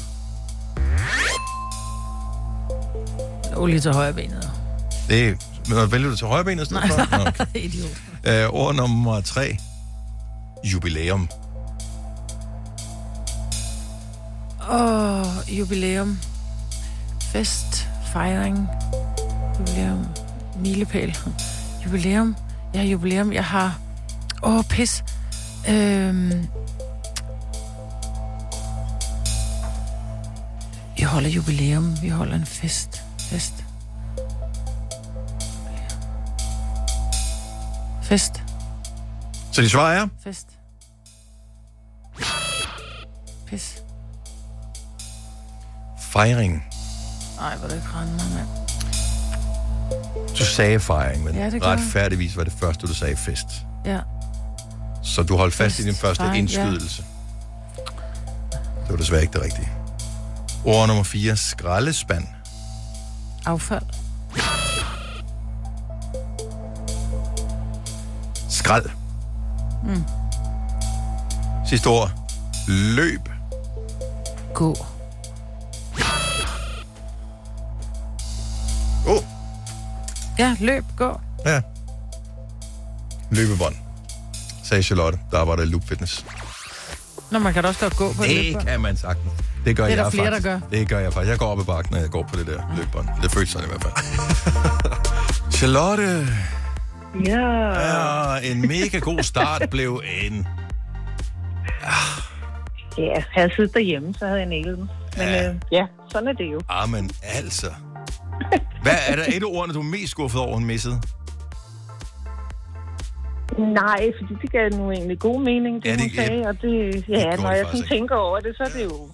Speaker 2: Olie til højre benet.
Speaker 1: Det er, men vælger du til højre benet i stedet for? Nå, okay.
Speaker 2: Idiot.
Speaker 1: Øh, ord nummer 3 jubilæum.
Speaker 2: Åh, oh, jubilæum. Fest, fejring, jubilæum, milepæl, jubilæum. Jeg har jubilæum, jeg har... Åh, oh, pis. Øhm... Vi holder jubilæum, vi holder en fest. Fest. Fest.
Speaker 1: Så de svarer er?
Speaker 2: Fest. Pis.
Speaker 1: Fejring.
Speaker 2: Nej, hvor er det ikke rende mig, mand.
Speaker 1: Du sagde fejring, men
Speaker 2: Ja,
Speaker 1: ja,
Speaker 2: det gør jeg.
Speaker 1: retfærdigvis var det første, du sagde fest.
Speaker 2: Ja.
Speaker 1: Så du holdt fast i din første
Speaker 2: Fejring, ja.
Speaker 1: indskydelse. Det var desværre ikke det rigtige. Ord nummer 4. Skraldespand.
Speaker 2: Affald.
Speaker 1: Skrald.
Speaker 2: Mm.
Speaker 1: Sidste ord. Løb.
Speaker 2: Gå.
Speaker 1: Gå.
Speaker 2: Ja, løb, gå.
Speaker 1: Ja. Løbebånd. Sagde Charlotte, der arbejder i Loop Fitness.
Speaker 2: Nå, man kan da også godt gå på
Speaker 1: Det
Speaker 2: løbebånd.
Speaker 1: kan man sagtens. Det gør
Speaker 2: Det er der
Speaker 1: jeg
Speaker 2: flere, der
Speaker 1: faktisk.
Speaker 2: gør.
Speaker 1: Det gør jeg faktisk. Jeg går op ad bakken, når jeg går på det der løbebånd. Det føles sådan i hvert fald. Charlotte,
Speaker 11: Ja.
Speaker 1: ja, en mega god start blev en.
Speaker 11: Ja, havde jeg siddet derhjemme, så havde jeg nælet den. Men
Speaker 1: Ja.
Speaker 11: ja. Øh, ja, sådan er det jo.
Speaker 1: Amen, altså. Hvad er der et af ordene, du er mest skuffet over, hun missede?
Speaker 11: Nej, fordi det gav nu egentlig god mening, det,
Speaker 1: Ja,
Speaker 11: ja,
Speaker 1: det-
Speaker 11: det hun sagde. Og det, ja,
Speaker 1: gjorde
Speaker 11: når
Speaker 1: det
Speaker 11: jeg
Speaker 1: faktisk
Speaker 11: sådan
Speaker 1: ikke.
Speaker 11: tænker over det, så er det jo...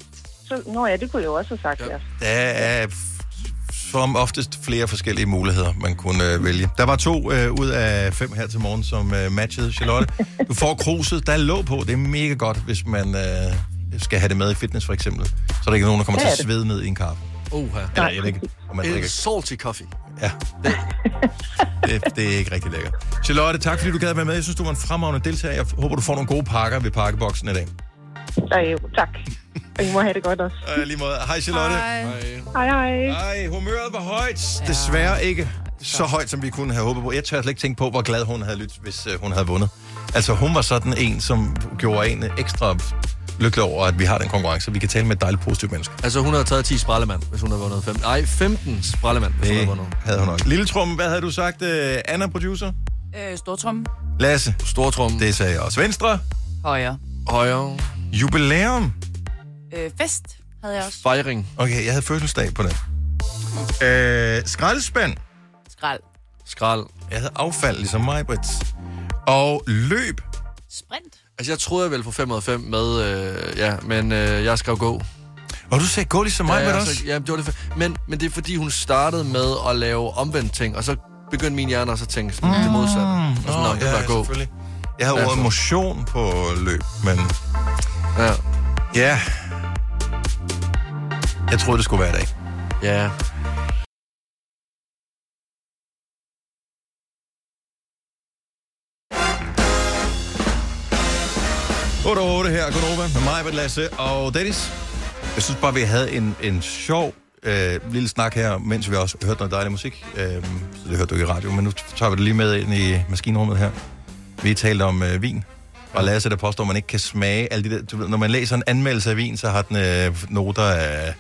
Speaker 11: Så, nå ja, det kunne jeg jo også have sagt, ja.
Speaker 1: Der er f- som oftest flere forskellige muligheder, man kunne øh, vælge. Der var to øh, ud af fem her til morgen, som øh, matchede Charlotte. Du får kruset, der er låg på. Det er mega godt, hvis man øh, skal have det med i fitness, for eksempel. Så er der ikke nogen, der kommer
Speaker 3: Det
Speaker 1: til
Speaker 3: er
Speaker 1: at
Speaker 3: det.
Speaker 1: svede ned i en kaffe.
Speaker 3: Oha.
Speaker 1: Eller, jeg ved ikke, om man
Speaker 3: En
Speaker 1: drikker.
Speaker 3: salty coffee.
Speaker 1: Ja. Det, det er ikke rigtig lækkert. Charlotte, tak fordi du gad at være med. Jeg synes, du var en fremragende deltager. Jeg håber, du får nogle gode pakker ved pakkeboksen i dag.
Speaker 11: Så jo, tak. Og I må have det godt også.
Speaker 1: Og i Øh, lige måde. Hej Charlotte.
Speaker 11: Hej.
Speaker 1: Hej.
Speaker 11: Hej, hej.
Speaker 1: Ej, humøret var højt. Desværre ikke så højt, som vi kunne have håbet på. Jeg tør slet ikke tænke på, hvor glad hun havde lyttet, hvis øh, hun havde vundet. Altså, hun var sådan en, som gjorde en ekstra lykkelig over, at vi har den konkurrence. Vi kan tale med et dejligt positivt menneske.
Speaker 3: Altså, hun havde taget 10 sprallemand, hvis hun havde vundet 15. Nej, 15 sprallemand, hvis hun havde vundet.
Speaker 1: Havde hun også. Lille Trum, hvad havde du sagt, øh, Anna, producer?
Speaker 6: Øh, Stortrumme.
Speaker 1: Lasse?
Speaker 3: Stortrum.
Speaker 1: Det sagde jeg også. Venstre?
Speaker 6: Højre.
Speaker 3: Højre.
Speaker 1: Jubilæum?
Speaker 6: Øh, fest havde jeg også.
Speaker 3: Fejring.
Speaker 1: Okay, jeg havde fødselsdag på den. Øh, skraldespand?
Speaker 6: Skrald.
Speaker 3: Skrald.
Speaker 1: Jeg havde affald, ligesom mig, Britt. Og løb?
Speaker 6: Sprint.
Speaker 3: Altså, jeg troede, jeg ville få 5 ud af 5 med, øh, ja, men øh, jeg skrev gå.
Speaker 1: Og du sagde gå ligesom mig,
Speaker 3: ja,
Speaker 1: Britt,
Speaker 3: ja, altså,
Speaker 1: også?
Speaker 3: så- Ja, det var det. fa- Men, men det er fordi, hun startede med at lave omvendt ting, og så begyndte min hjerne også at tænke sådan, mm. det modsatte. Og sådan,
Speaker 1: Nå,
Speaker 3: oh, det
Speaker 1: ja,
Speaker 3: var gå.
Speaker 1: selvfølgelig. Jeg havde
Speaker 3: Ja,
Speaker 1: ordet
Speaker 3: så-
Speaker 1: motion på løb, men...
Speaker 3: Ja.
Speaker 1: Ja. Jeg troede, det skulle være i dag.
Speaker 3: Ja.
Speaker 1: Otte og otte her, Gunova, med mig, Britt, Lasse og Dennis. Jeg synes bare, vi havde en, en sjov øh, lille snak her, mens vi også hørte noget dejlig musik. Øh, så det hørte du ikke i radio, men nu tager vi det lige med ind i maskinrummet her. Vi talte om øh, vin, og Lasse der påstår, at man ikke kan smage alle de der... Du ved, når man læser en anmeldelse af vin, så har den øh, noter af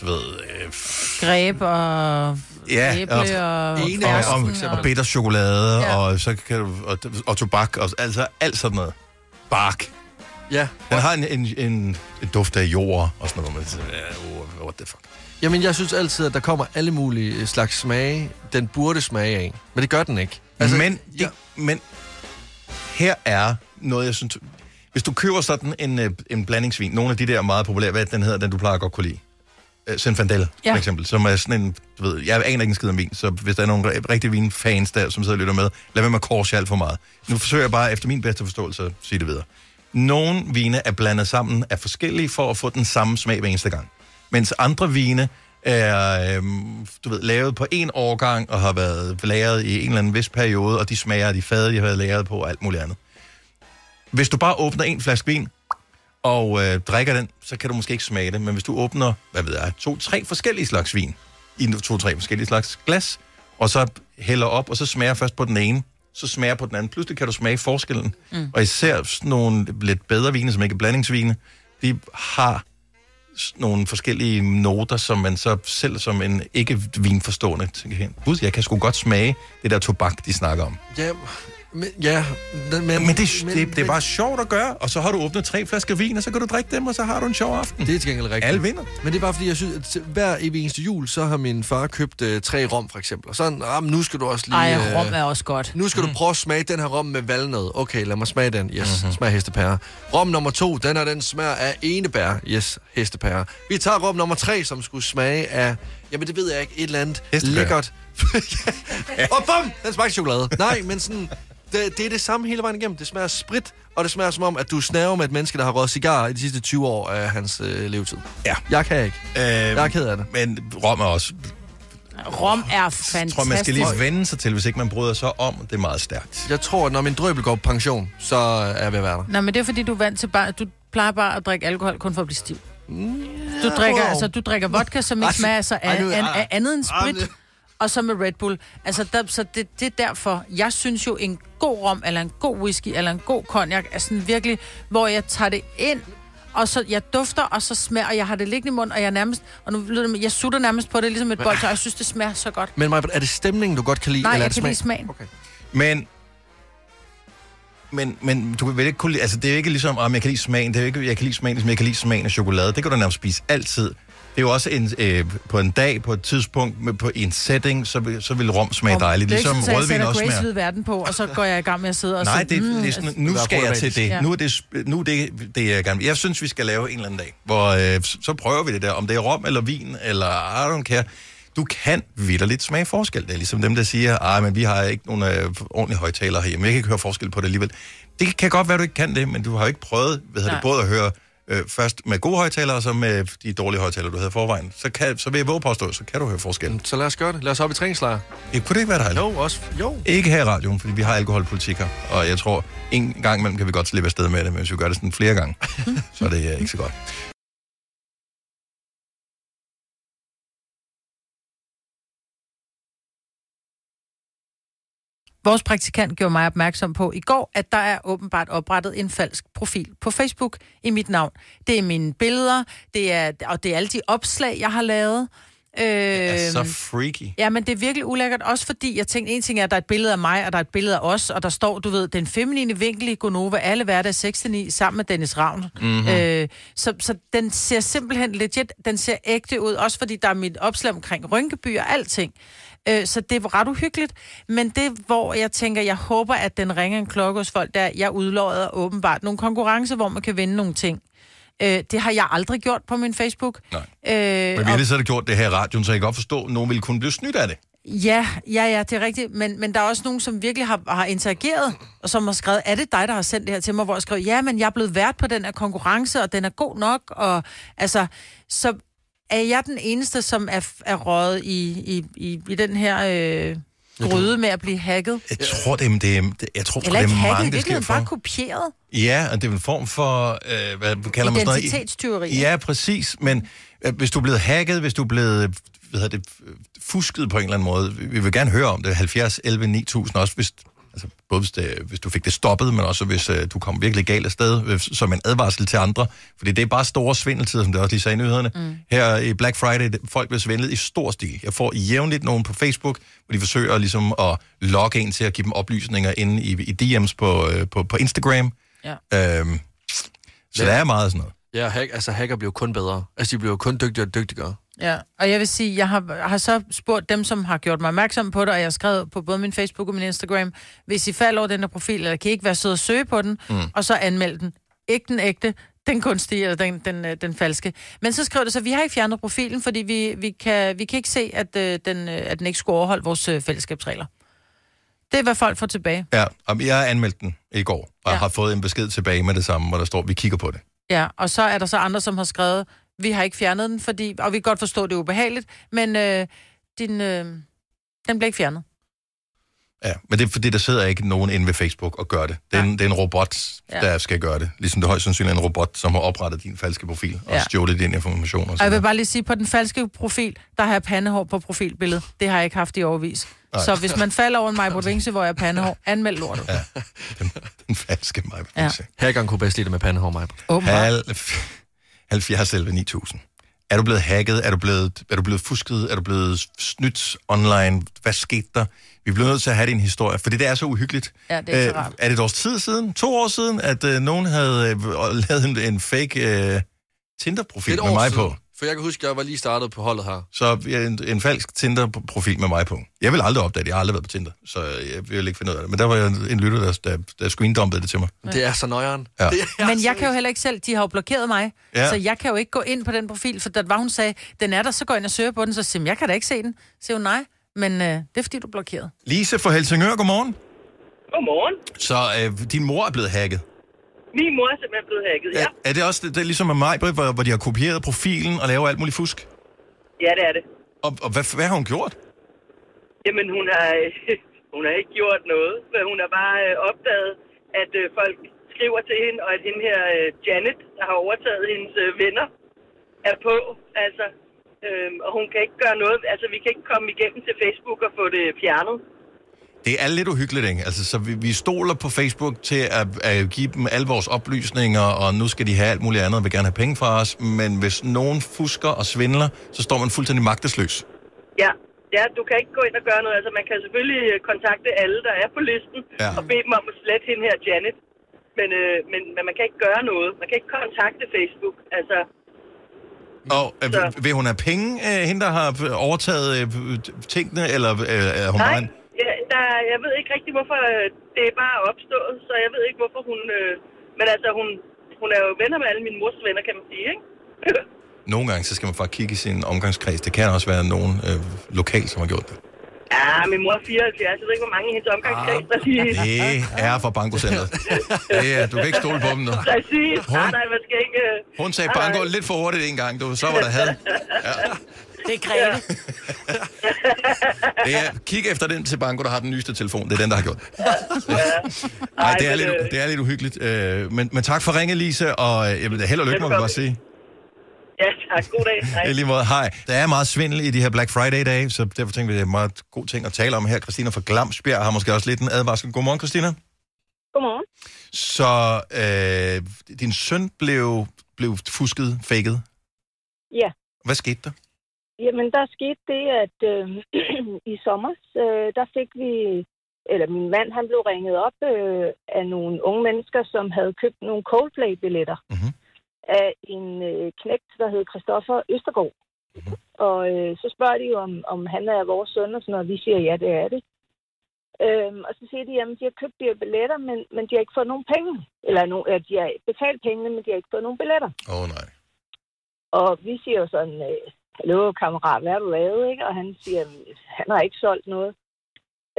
Speaker 1: du ved, øh,
Speaker 2: Greb og
Speaker 1: ja,
Speaker 2: æble og, og,
Speaker 1: og,
Speaker 2: fersken
Speaker 1: og, og bitterchokolade,
Speaker 2: Ja.
Speaker 1: ja. og, så kan du, og, og tobak, og, altså alt sådan noget. Bark.
Speaker 3: Ja.
Speaker 1: Den har en, en, en, en duft af jord og sådan noget. Men, så- ja, oh, what the fuck.
Speaker 3: Jamen, jeg synes altid, at der kommer alle mulige øh, slags smage, den burde smage af. Men det gør den ikke.
Speaker 1: Altså, men, det, men her er noget, jeg synes... Hvis du køber sådan en, øh, en blandingsvin, nogle af de der meget populære, hvad er det, den hedder, den du plejer at godt kunne lide? Øh, Zinfandel,
Speaker 2: Ja.
Speaker 1: ja. for eksempel, som er sådan en, du ved, jeg aner ikke en skid om vin, så hvis der er nogle ri- rigtige vinfans der, som sidder og lytter med, lad være med at korse alt for meget. Nu forsøger jeg bare, efter min bedste forståelse, at sige det videre. Nogle vine er blandet sammen af forskellige for at få den samme smag hver eneste gang. Mens andre vine er øhm, du ved, lavet på en årgang og har været lagret i en eller anden vis periode, og de smager af de fade, de har været lagret på og alt muligt andet. Hvis du bare åbner en flaske vin, og øh, drikker den, så kan du måske ikke smage det. Men hvis du åbner, hvad ved jeg, to-tre forskellige slags vin i to-tre forskellige slags glas, og så hælder op, og så smager først på den ene, så smager på den anden. Pludselig kan du smage forskellen. Mm. Og især sådan nogle lidt bedre vine, som ikke er blandingsvine, de har sådan nogle forskellige noter, som man så selv som en ikke-vinforstående tænker hen. Gud, jeg kan sgu godt smage det der tobak, de snakker om.
Speaker 3: Ja, men, ja, men,
Speaker 1: Men, men, det, men, det, det er bare sjovt at gøre, og så har du åbnet tre flasker vin, og så kan du drikke dem, og så har du en sjov aften.
Speaker 3: Det er til gengæld rigtigt.
Speaker 1: Alle vinder.
Speaker 3: Men det er bare fordi, jeg synes, at til hver evig eneste jul, så har min far købt øh, tre rom, for eksempel. Og sådan, ah, men nu skal du også lige... øh,
Speaker 2: Ej, rom er også godt.
Speaker 3: Nu skal mm. du prøve at smage den her rom med valnød. Okay, lad mig smage den.
Speaker 1: Mhm.
Speaker 3: Yes, mm-hmm. smag hestepære. Rom nummer to, den her, den smager af enebær. Yes, hestepære. Vi tager rom nummer tre, som skulle smage af... Jamen, det ved jeg ikke. Et eller andet
Speaker 1: Hestepære.
Speaker 3: lækkert. Ja. og bum, den smagte chokolade. Nej, men sådan... Det, det er det samme hele vejen igennem. Det smager af sprit, og det smager som om, at du snaver med et menneske, der har røget cigarer i de sidste 20 år af hans øh, levetid.
Speaker 1: Ja.
Speaker 3: Jeg kan ikke.
Speaker 1: Øh, jeg
Speaker 3: er ked af det.
Speaker 1: Men rom er også...
Speaker 2: Rom er fantastisk.
Speaker 1: Jeg tror, man skal lige vende sig til, hvis ikke man bryder sig om. Det er meget stærkt.
Speaker 3: Jeg tror, at når min drøbel går på pension, så er jeg ved at være der.
Speaker 2: Nej, men det er fordi, du er vant til bare... Du plejer bare at drikke alkohol kun for at blive stiv. Du drikker,
Speaker 3: wow.
Speaker 2: altså, du drikker vodka, som
Speaker 3: Ej,
Speaker 2: ikke smager så
Speaker 3: ej,
Speaker 2: af,
Speaker 3: nu-
Speaker 2: an,
Speaker 3: ej.
Speaker 2: af andet end
Speaker 3: Ej,
Speaker 2: sprit,
Speaker 3: nu-
Speaker 2: og så med Red Bull. Altså, der, så det, det er derfor, jeg synes jo, en god rom, eller en god whisky, eller en god cognac, er sådan virkelig, hvor jeg tager det ind, og så jeg dufter, og så smager, og jeg har det liggende i munden, og jeg nærmest, og nu lyder det, men jeg sutter nærmest på det, ligesom et
Speaker 3: Men-
Speaker 2: bold, og jeg synes, det smager så godt.
Speaker 3: Men Maja, er det stemningen, du godt kan lide?
Speaker 2: Nej,
Speaker 3: eller er
Speaker 2: jeg
Speaker 3: det
Speaker 2: kan lide smagen.
Speaker 3: Okay.
Speaker 1: Men, men, men du kan vel ikke kunne lide, altså det er jo ikke ligesom, om jeg kan lide smagen, det er jo ikke, jeg kan lide smagen, ligesom jeg kan lide smagen af chokolade. Det kan du nærmest spise altid. Det er jo også en, øh, på en dag, på et tidspunkt, med, på en setting, så vil, så vil rom smage dejligt.
Speaker 2: det er
Speaker 1: Ligesom
Speaker 2: ikke sådan, at jeg
Speaker 1: rødvin
Speaker 2: sætter
Speaker 1: også
Speaker 2: Grace
Speaker 1: smager.
Speaker 2: Hvide Verden på, og så går jeg i gang med at sidde og Mm.
Speaker 1: Nej,
Speaker 2: sige,
Speaker 1: det, det Altså, er sådan, nu skal jeg til det.
Speaker 2: Ja.
Speaker 1: Nu er det, sp- nu er det, det jeg gerne vil. Jeg synes, vi skal lave en eller anden dag, hvor øh, s- så prøver vi det der, om det er rom eller vin, eller I don't care. Du kan vidderligt smage forskel. Det er ligesom dem, der siger, at men vi har ikke nogen øh, ordentlige højtalere herhjemme. Jeg kan ikke høre forskel på det alligevel. Det kan godt være, du ikke kan det, men du har jo ikke prøvet hvad hedder det,
Speaker 2: Nej.
Speaker 1: både at høre øh, først med gode højtalere, og så med de dårlige højtalere, du havde i forvejen. Så, kan, så vil jeg våge påstå, så kan du høre forskel.
Speaker 3: Så lad os gøre det. Lad os op i træningslejr.
Speaker 1: Det kunne det ikke være dejligt?
Speaker 3: Jo, også. Jo.
Speaker 1: Ikke her i radioen, fordi vi har alkoholpolitik her. Og jeg tror, en gang imellem kan vi godt slippe afsted med det, men hvis vi gør det sådan flere gange, så er det øh, ikke så godt.
Speaker 2: Vores praktikant gjorde mig opmærksom på i går, at der er åbenbart oprettet en falsk profil på Facebook i mit navn. Det er mine billeder, det er, og det er alle de opslag, jeg har lavet. Øh,
Speaker 1: Det er
Speaker 3: Øhm,
Speaker 1: så freaky.
Speaker 3: øh,
Speaker 2: Ja, men det er virkelig ulækkert, også fordi jeg tænkte, en ting er, at der er et billede af mig, og der er et billede af os, og der står, du ved, den feminine vinkel i Gonova, alle hverdag 69, sammen med Dennis Ravn.
Speaker 17: Mhm.
Speaker 2: Øh, så, så den ser simpelthen legit, den ser ægte ud, også fordi der er mit opslag omkring Rynkeby og alting. Øh, så det er ret uhyggeligt, men det, hvor jeg tænker, jeg håber, at den ringer en klokke hos folk, der jeg udlodder åbenbart nogle konkurrencer, hvor man kan vinde nogle ting. Øh, det har jeg aldrig gjort på min Facebook.
Speaker 1: Nej.
Speaker 2: Øh,
Speaker 1: Men vi har lige så gjort det her i radioen, så jeg kan godt forstå, at nogen ville kunne blive snydt af det.
Speaker 2: Ja, ja, ja, det er rigtigt. Men, men der er også nogen, som virkelig har, har interageret, og som har skrevet, er det dig, der har sendt det her til mig, hvor jeg skrev, ja, men jeg er blevet vært på den her konkurrence, og den er god nok, og altså, så er jeg den eneste, som er, er røget i, i, i, i den her øh, gryde med at blive hacket?
Speaker 1: Jeg tror, det er, det er, det- jeg tror, sgu, det
Speaker 2: Eller ikke
Speaker 1: er
Speaker 2: hacket, i
Speaker 1: mange, det sker
Speaker 2: virkeligheden
Speaker 1: for.
Speaker 2: bare kopieret.
Speaker 1: Ja, og det er en form for, øh, hvad kalder man sådan
Speaker 2: Identitetstyveri.
Speaker 1: Ja, præcis. Men øh, hvis du er blevet hacket, hvis du er blevet hvad hedder det, øh, fusket på en eller anden måde, vi vil gerne høre om det, 70, 11, 9000 også, hvis altså både hvis, det, hvis du fik det stoppet, men også hvis øh, du kom virkelig galt afsted, øh, som en advarsel til andre. Fordi det er bare store svindeltider, som det også lige sagde i nyhederne. Mm. Her i Black Friday, det- folk bliver svindlet i stor stil. Jeg får jævnligt nogen på Facebook, hvor de forsøger ligesom at logge en til at give dem oplysninger inde i, i DM's på, øh, på, på Instagram.
Speaker 2: Ja.
Speaker 1: Øhm, så der er meget sådan noget.
Speaker 3: Ja, hack, altså hacker bliver jo kun bedre. Altså, de bliver jo kun dygtigere og dygtigere.
Speaker 2: Ja, og jeg vil sige, jeg har, har så spurgt dem, som har gjort mig opmærksom på det, og jeg har skrevet på både min Facebook og min Instagram, hvis I falder over den her profil, eller kan I ikke være søde og søge på den,
Speaker 17: Mm.
Speaker 2: mm. og så anmeld den. Ikke den ægte, den kunstige eller den, den, øh, den falske. Men så skrev det så, vi har ikke fjernet profilen, fordi vi, vi, kan, vi kan ikke se, at, øh, den, øh, at den ikke skulle overholde vores øh, fællesskabsregler. Det er, hvad folk får tilbage.
Speaker 1: Ja, og jeg har anmeldt den i går, og ja. har fået en besked tilbage med det samme, hvor der står, vi kigger på det.
Speaker 2: Ja, og så er der så andre, som har skrevet, vi har ikke fjernet den, fordi, og vi kan godt forstå, det er ubehageligt, men øh, din, øh, den bliver ikke fjernet.
Speaker 1: Ja, men det er fordi, der sidder ikke nogen inde ved Facebook og gør det. Det er, en, det er en robot,
Speaker 2: Ja.
Speaker 1: der skal gøre det. Ligesom det højst sandsynligt er en robot, som har oprettet din falske profil og
Speaker 2: Ja.
Speaker 1: stjålet din information. Og
Speaker 2: Og jeg
Speaker 1: sådan
Speaker 2: vil bare lige sige, på den falske profil, der har jeg pandehår på profilbilledet. Det har jeg ikke haft i overvis.
Speaker 1: Nej.
Speaker 2: Så hvis man falder over en Majbert Vingse, hvor jeg har pandehår, anmeld lortet. Ja.
Speaker 1: den falske mig.
Speaker 2: Ja.
Speaker 3: Hackeren kunne bedst lide det med pandehår, mig.
Speaker 2: Åbenbart.
Speaker 1: Hal... 70 11 9000. Er du blevet hacket? Er du blevet, er du blevet fusket? Er du blevet snydt online? Hvad skete der? Vi bliver nødt til at have din historie, fordi det er så uhyggeligt. Øh,
Speaker 2: Ja, det er ikke så rart.
Speaker 1: er det et års tid siden, to år siden, at øh, nogen havde øh, lavet en, en fake øh, Tinder-profil med mig på?
Speaker 3: For jeg kan huske, at jeg var lige startet på holdet her.
Speaker 1: Så ja, en, en falsk Tinder-profil med mig på. Jeg vil aldrig opdage det. Jeg har aldrig været på Tinder, så jeg vil ikke finde ud af det. Men der var en en lytter, der, der, der screendumpede det til mig.
Speaker 2: Ja. Det
Speaker 3: er så nøjeren.
Speaker 1: Ja.
Speaker 2: Men jeg kan jo heller ikke selv, de har jo blokeret mig,
Speaker 1: Ja.
Speaker 2: ja. så jeg kan jo ikke gå ind på den profil, for da var hun sagde, den er der, så går jeg ind og søger på den, så siger jeg, jeg kan da ikke se den. Så siger hun, nej, men øh, det er fordi, du er blokeret.
Speaker 1: Lise fra Helsingør, godmorgen.
Speaker 18: Godmorgen.
Speaker 1: Så øh, din mor er blevet hacket.
Speaker 18: Min mor er simpelthen blevet hacket, ja.
Speaker 1: Er det også det, det er ligesom med mig, hvor, hvor de har kopieret profilen og laver alt muligt fusk?
Speaker 18: Ja, det er det.
Speaker 1: Og, og hvad, hvad har hun gjort?
Speaker 18: Jamen, hun har, øh, hun har ikke gjort noget, men hun har bare øh, opdaget, at øh, folk skriver til hende, og at hende her øh, Janet, der har overtaget hendes øh, venner, er på. Altså, øh, og hun kan ikke gøre noget. Altså, vi kan ikke komme igennem til Facebook og få det fjernet.
Speaker 1: Det er lidt uhyggeligt, ikke? Altså, så vi, vi stoler på Facebook til at, at give dem alle vores oplysninger, og nu skal de have alt muligt andet og vil gerne have penge fra os. Men hvis nogen fusker og svindler, så står man fuldstændig magtesløs. Øh,
Speaker 18: Ja, ja, du kan ikke gå ind og gøre noget. Altså, man kan selvfølgelig øh, kontakte alle, der er på listen,
Speaker 1: Ja.
Speaker 18: ja. og bede dem om at slette hende her, Janet. Men, øh, men, men man kan ikke gøre noget. Man kan ikke kontakte Facebook. Altså,
Speaker 1: Og øh, vil- vil hun have penge, øh, hende der har overtaget øh, tingene, eller øh, er hun
Speaker 18: Nej,
Speaker 1: bare en-
Speaker 18: ja, der, jeg ved ikke rigtig, hvorfor øh, det er bare opstået, så jeg ved ikke, hvorfor hun... Øh, men altså, hun, hun er jo venner med alle mine mors venner, kan man sige, ikke?
Speaker 1: Nogle gange, så skal man bare kigge i sin omgangskreds. Det kan også være nogen øh, lokal, som har gjort det.
Speaker 18: Ja, min mor er 74, jeg ved ikke, hvor mange i hendes
Speaker 1: Ah.
Speaker 18: omgangskreds, der siger...
Speaker 1: Det er fra bankocentret. Det er, du kan ikke stole på dem nu.
Speaker 18: Præcis. Nej,
Speaker 1: Hun-
Speaker 18: nej, man skal ikke... øh,
Speaker 1: Hun sagde
Speaker 18: nej,
Speaker 1: banko
Speaker 18: nej.
Speaker 1: lidt for hurtigt en gang, du, så var der had.
Speaker 2: Det er Grete.
Speaker 1: Det er, kig efter den til banko, der har den nyeste telefon. Det er den, der har gjort. det. Nej, det er lidt,
Speaker 18: øh,
Speaker 1: det er lidt uhyggeligt. Øh, men, men tak for ringe, Lise, og øh, jamen, held og lykke, må vi bare sige.
Speaker 18: Ja, tak. God dag. Hej.
Speaker 1: I lige måde, hej. Der er meget svindel i de her Black Friday-dage, så derfor tænker vi, det er en meget god ting at tale om her. Christina fra Glamsbjerg har måske også lidt en advarsel. Godmorgen, Christina.
Speaker 19: Godmorgen.
Speaker 1: Så øh, din søn blev, blev fusket, faked.
Speaker 19: Ja,
Speaker 1: Hvad skete der?
Speaker 19: jamen der skete det, at øh, i sommer, øh, der fik vi, eller min mand, han blev ringet op øh, af nogle unge mennesker, som havde købt nogle Coldplay-billetter
Speaker 1: Mhm.
Speaker 19: mm-hmm. af en øh, knægt, der hed Christoffer Østergaard.
Speaker 1: Mhm.
Speaker 19: Mm-hmm. Og øh, så spørger de jo, om, om han er vores søn og sådan noget, og vi siger, ja, det er det. Øhm, og så siger de, at de har købt de her billetter, men, men de har ikke fået nogen penge. Eller no, ja, de har betalt pengene, men de har ikke fået nogen billetter.
Speaker 1: Åh oh, nej.
Speaker 19: Og vi siger jo sådan, øh, hallo kammerat, hvad har du lavet? Ikke? Og han siger, "Jamen, han har ikke solgt noget.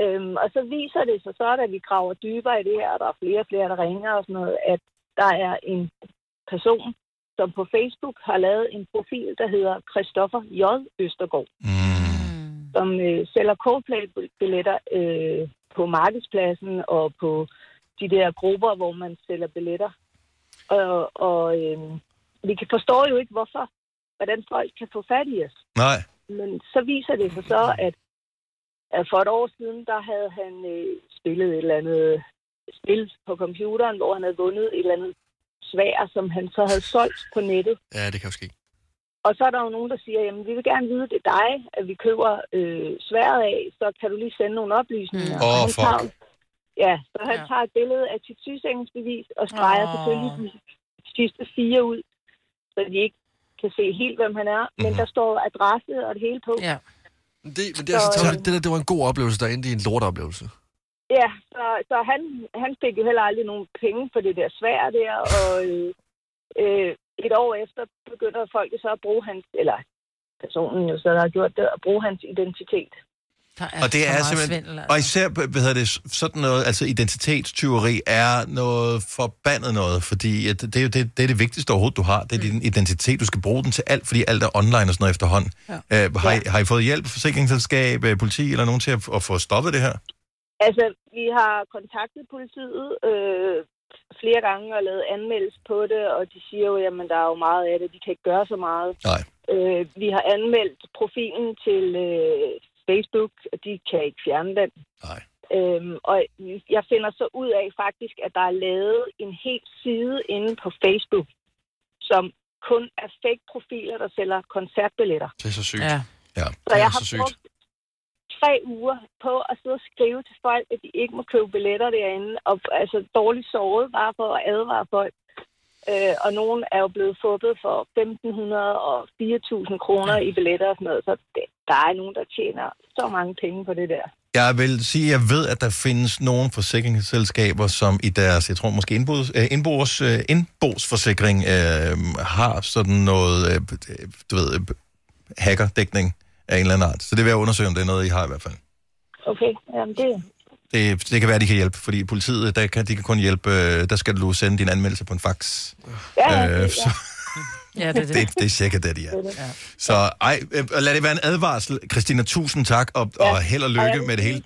Speaker 19: Øhm, og så viser det sig så, at vi graver dybere i det her, og der er flere og flere, der ringer og sådan noget, at der er en person, som på Facebook har lavet en profil, der hedder Christoffer J. Østergaard, mm. som øh, sælger Coldplay-billetter øh, på markedspladsen og på de der grupper, hvor man sælger billetter. Og, og øh, vi kan forstår jo ikke, hvorfor, hvordan folk kan få fat i os.
Speaker 1: Nej.
Speaker 19: Men så viser det sig så, at at for et år siden, der havde han øh, spillet et eller andet spil på computeren, hvor han havde vundet et eller andet svær, som han så havde solgt på nettet.
Speaker 3: Ja, det kan jo ske.
Speaker 19: Og så er der jo nogen, der siger, jamen vi vil gerne vide, det er dig, at vi køber øh, sværet af, så kan du lige sende nogle oplysninger.
Speaker 1: Mm. Åh,
Speaker 19: Og han
Speaker 1: fuck.
Speaker 19: tager- Ja, så han ja. tager et billede af sit sygesikringsbevis og streger oh. selvfølgelig de sidste fire ud, så de ikke kan se helt, hvem han er. Mm-hmm.
Speaker 1: Mhm.
Speaker 19: Men der står adresse og det hele på.
Speaker 2: Ja.
Speaker 3: Det, men det, er altså, det, der, det var en god oplevelse, der endte i en lorteoplevelse.
Speaker 19: Ja, så, så han, han fik jo heller aldrig nogen penge for det der svær der, og øh, øh, et år efter begynder folk så at bruge hans, eller personen jo så, der har gjort det, at bruge hans identitet.
Speaker 1: Og det er simpelthen... Svindel, altså. Og især, hvad hedder det, sådan noget, altså identitetstyveri er noget forbandet noget, fordi at det, er jo det, det er det vigtigste overhovedet, du har. Det er din identitet. Du skal bruge den til alt, fordi alt er online og sådan noget efterhånden. Ja. Øh, har, I, har I fået hjælp, forsikringsselskab, øh, politi eller nogen til at, at få stoppet det her?
Speaker 19: Altså, vi har kontaktet politiet øh, flere gange og lavet anmeldelse på det, og de siger jo, jamen der er jo meget af det, de kan ikke gøre så meget.
Speaker 1: Nej.
Speaker 19: Øh, vi har anmeldt profilen til øh, Facebook, og de kan ikke fjerne den.
Speaker 1: Nej.
Speaker 19: Øhm, og jeg finder så ud af faktisk, at der er lavet en hel side inde på Facebook, som kun er fake profiler, der sælger koncertbilletter.
Speaker 3: Det er så sygt. Ja. ja.
Speaker 19: Så jeg har brugt tre uger på at sidde og skrive til folk, at de ikke må købe billetter derinde, og altså dårligt sovet bare for at advare folk. Øh, og nogen er jo blevet fuppet for 1.500 og 4.000 kroner i billetter og sådan noget, så det, der er nogen, der tjener så mange penge på det der.
Speaker 1: Jeg vil sige, at jeg ved, at der findes nogle forsikringsselskaber, som i deres, jeg tror måske indbods, øh, indbogs, øh, indbogsforsikring, øh, har sådan noget, øh, du ved, øh, hackerdækning af en eller anden art. Så det vil jeg undersøge, om det er noget, I har i hvert fald.
Speaker 19: Okay, jamen det,
Speaker 1: Det, det kan være, at de kan hjælpe, fordi politiet, der kan, de kan kun hjælpe, øh, der skal du sende din anmeldelse på en fax.
Speaker 19: Ja,
Speaker 1: øh, så,
Speaker 2: Ja, det er
Speaker 1: det,
Speaker 2: det.
Speaker 1: det, det er cirka det, de er. Så ej, øh, lad det være en advarsel. Christina, tusind tak, og, og held og
Speaker 19: og jeg
Speaker 1: lykke
Speaker 19: vil
Speaker 1: med det hele.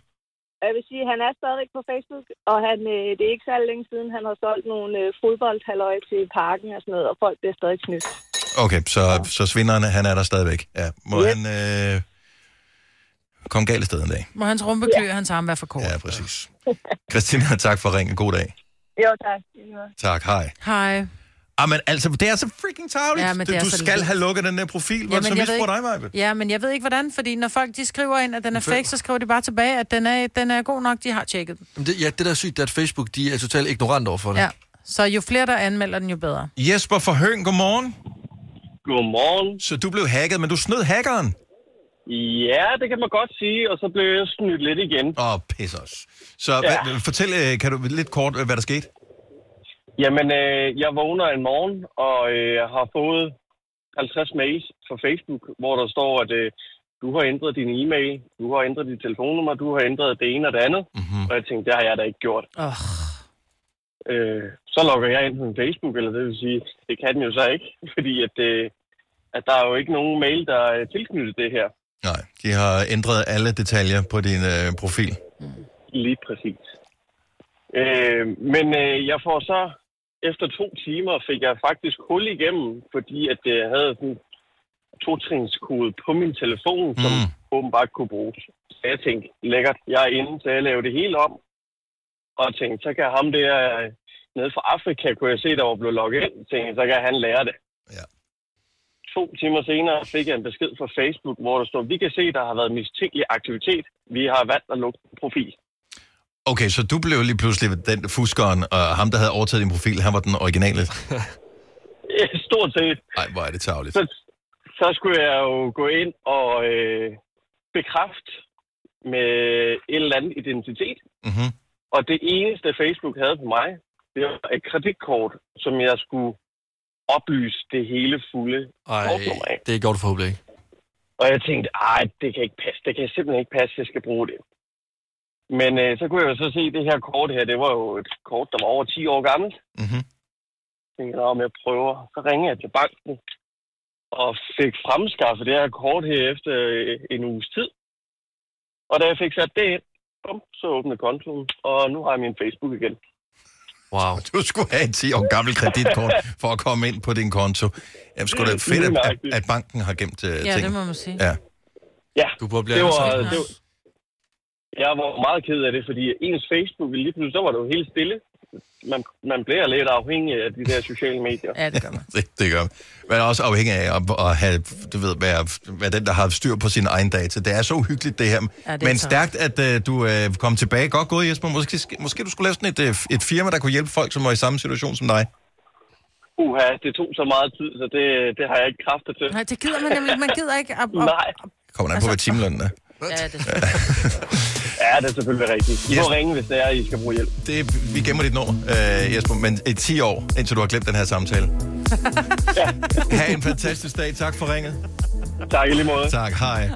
Speaker 19: Og Jeg vil sige, at han er stadigvæk på Facebook, og han, øh, det er ikke særlig længe siden, han har solgt nogle øh, fodboldhalløj til parken og sådan noget, og folk bliver stadig snydt.
Speaker 1: Okay, så, ja. så svinderen, han er der stadigvæk. Ja, må yep. han øh, komme galt af sted en dag.
Speaker 2: Må hans rumpeklø og hans arm være for kort?
Speaker 1: Ja, præcis. Christina, tak for ringen. God dag.
Speaker 19: Jo, tak.
Speaker 1: Tak, hej.
Speaker 2: Hej.
Speaker 1: Jamen, altså, det er så freaking tarveligt.
Speaker 2: Ja, men det
Speaker 1: du
Speaker 2: er
Speaker 1: du
Speaker 2: så
Speaker 1: skal
Speaker 2: lidt.
Speaker 1: have lukket den der profil, hvor så
Speaker 2: jeg ved
Speaker 1: misbruger dig,
Speaker 2: ikke-
Speaker 1: Maja.
Speaker 2: Ja, men jeg ved ikke hvordan, fordi når folk de skriver ind, at den er
Speaker 3: føler-
Speaker 2: fake, så skriver de bare tilbage, at den er, den er god nok, de har tjekket den.
Speaker 3: Jamen, det, ja, det der er sygt, det er, at Facebook de er totalt ignorant overfor det.
Speaker 2: Ja. Så jo flere, der anmelder den, jo bedre.
Speaker 1: Jesper fra Høen, godmorgen.
Speaker 17: Godmorgen.
Speaker 1: Så du blev hacket, men du snød hackeren?
Speaker 17: Ja, det kan man godt sige, og så blev jeg snydt lidt igen.
Speaker 1: Åh, oh, pis os. Så ja. hvad, fortæl, øh, kan du lidt kort, øh, hvad der skete?
Speaker 17: Jamen, øh, jeg vågner en morgen og øh, har fået 50 mails fra Facebook, hvor der står, at øh, du har ændret din e-mail, du har ændret dit telefonnummer, du har ændret det ene og det andet.
Speaker 1: Mhm.
Speaker 17: Mm-hmm. Og jeg tænkte, det har jeg da ikke gjort.
Speaker 2: Oh.
Speaker 17: Øh, så logger jeg ind på min Facebook, eller det vil sige, det kan den jo så ikke, fordi at, øh, at der er jo ikke nogen mail, der er tilknyttet det her.
Speaker 1: Nej, de har ændret alle detaljer på din øh, profil.
Speaker 17: Lige præcis. Øh, men øh, jeg får så, efter to timer, fik jeg faktisk hul igennem, fordi at øh, jeg havde sådan en totrinskode på min telefon, som åbenbart kunne bruges. Så jeg tænkte, lækkert, jeg er inde, så jeg lavede det hele om. Og tænkte, så kan ham der øh, nede fra Afrika, kunne jeg se, der var blevet logget ind. Tænkte, så kan han lære det. To timer senere fik jeg en besked fra Facebook, hvor der står, vi kan se, der har været mistænkelig aktivitet. Vi har valgt at lukke profil.
Speaker 1: Okay, så du blev lige pludselig den fuskeren, og ham, der havde overtaget din profil, han var den originale.
Speaker 17: Ja, Stort set.
Speaker 1: Nej, hvor er det tavligt.
Speaker 17: Så, så skulle jeg jo gå ind og øh, bekræfte med en eller anden identitet.
Speaker 1: Mm-hmm.
Speaker 17: Og det eneste Facebook havde på mig, det var et kreditkort, som jeg skulle oplyse det hele fulde
Speaker 3: Ej,
Speaker 17: kortnummer af.
Speaker 3: det er godt forhåbentlig ikke.
Speaker 17: Og jeg tænkte, ej, det kan ikke passe. Det kan simpelthen ikke passe, jeg skal bruge det. Men øh, så kunne jeg jo så se, at det her kort her, det var jo et kort, der var over 10 år gammelt.
Speaker 1: Mm-hmm.
Speaker 17: Jeg tænkte, "Nå, men jeg prøver. Så ringede jeg til banken og fik fremskaffet det her kort her efter øh, en uges tid. Og da jeg fik sat det ind, bum, så åbnede kontoen, og nu har jeg min Facebook igen.
Speaker 1: Wow. Du skulle have et 10 år gammelt kreditkort for at komme ind på din konto. Jamen, skulle det fedt, at, at- at banken har gemt uh,
Speaker 2: Ja,
Speaker 1: ting.
Speaker 2: det må man sige.
Speaker 1: Ja.
Speaker 17: ja.
Speaker 3: Du burde
Speaker 17: Det var, det, var, jeg var meget ked af det, fordi ens Facebook lige pludselig, så var det jo helt stille. Man, man bliver lidt afhængig af de der sociale medier.
Speaker 2: Ja, det gør man.
Speaker 1: Det, det gør man. Man er også afhængig af at, at have, du ved, være, være den, der har styr på sin egen data. Det er så hyggeligt, det her.
Speaker 2: Ja, det er
Speaker 1: Men
Speaker 2: så.
Speaker 1: stærkt, at uh, du uh, kom tilbage. Godt gået, Jesper. Måske, måske du skulle lave sådan et, uh, et firma, der kunne hjælpe folk, som var i samme situation som dig.
Speaker 17: Uha, det tog så meget tid, så det, det har jeg ikke kræfter til.
Speaker 2: Nej, det gider man nemlig ikke. Man gider ikke. Op, op.
Speaker 17: Nej.
Speaker 1: Kommer
Speaker 2: Altså,
Speaker 1: an på, hvad timelønnen er.
Speaker 2: Ja, det
Speaker 17: Ja, det er selvfølgelig rigtigt. I yes. må ringe, hvis det er, I skal bruge hjælp.
Speaker 1: Det, vi gemmer dit nummer, øh, Jesper, men i 10 år, indtil du har glemt den her samtale. ha' en fantastisk dag. Tak for ringet.
Speaker 17: Tak i lige måde.
Speaker 1: Tak, hej.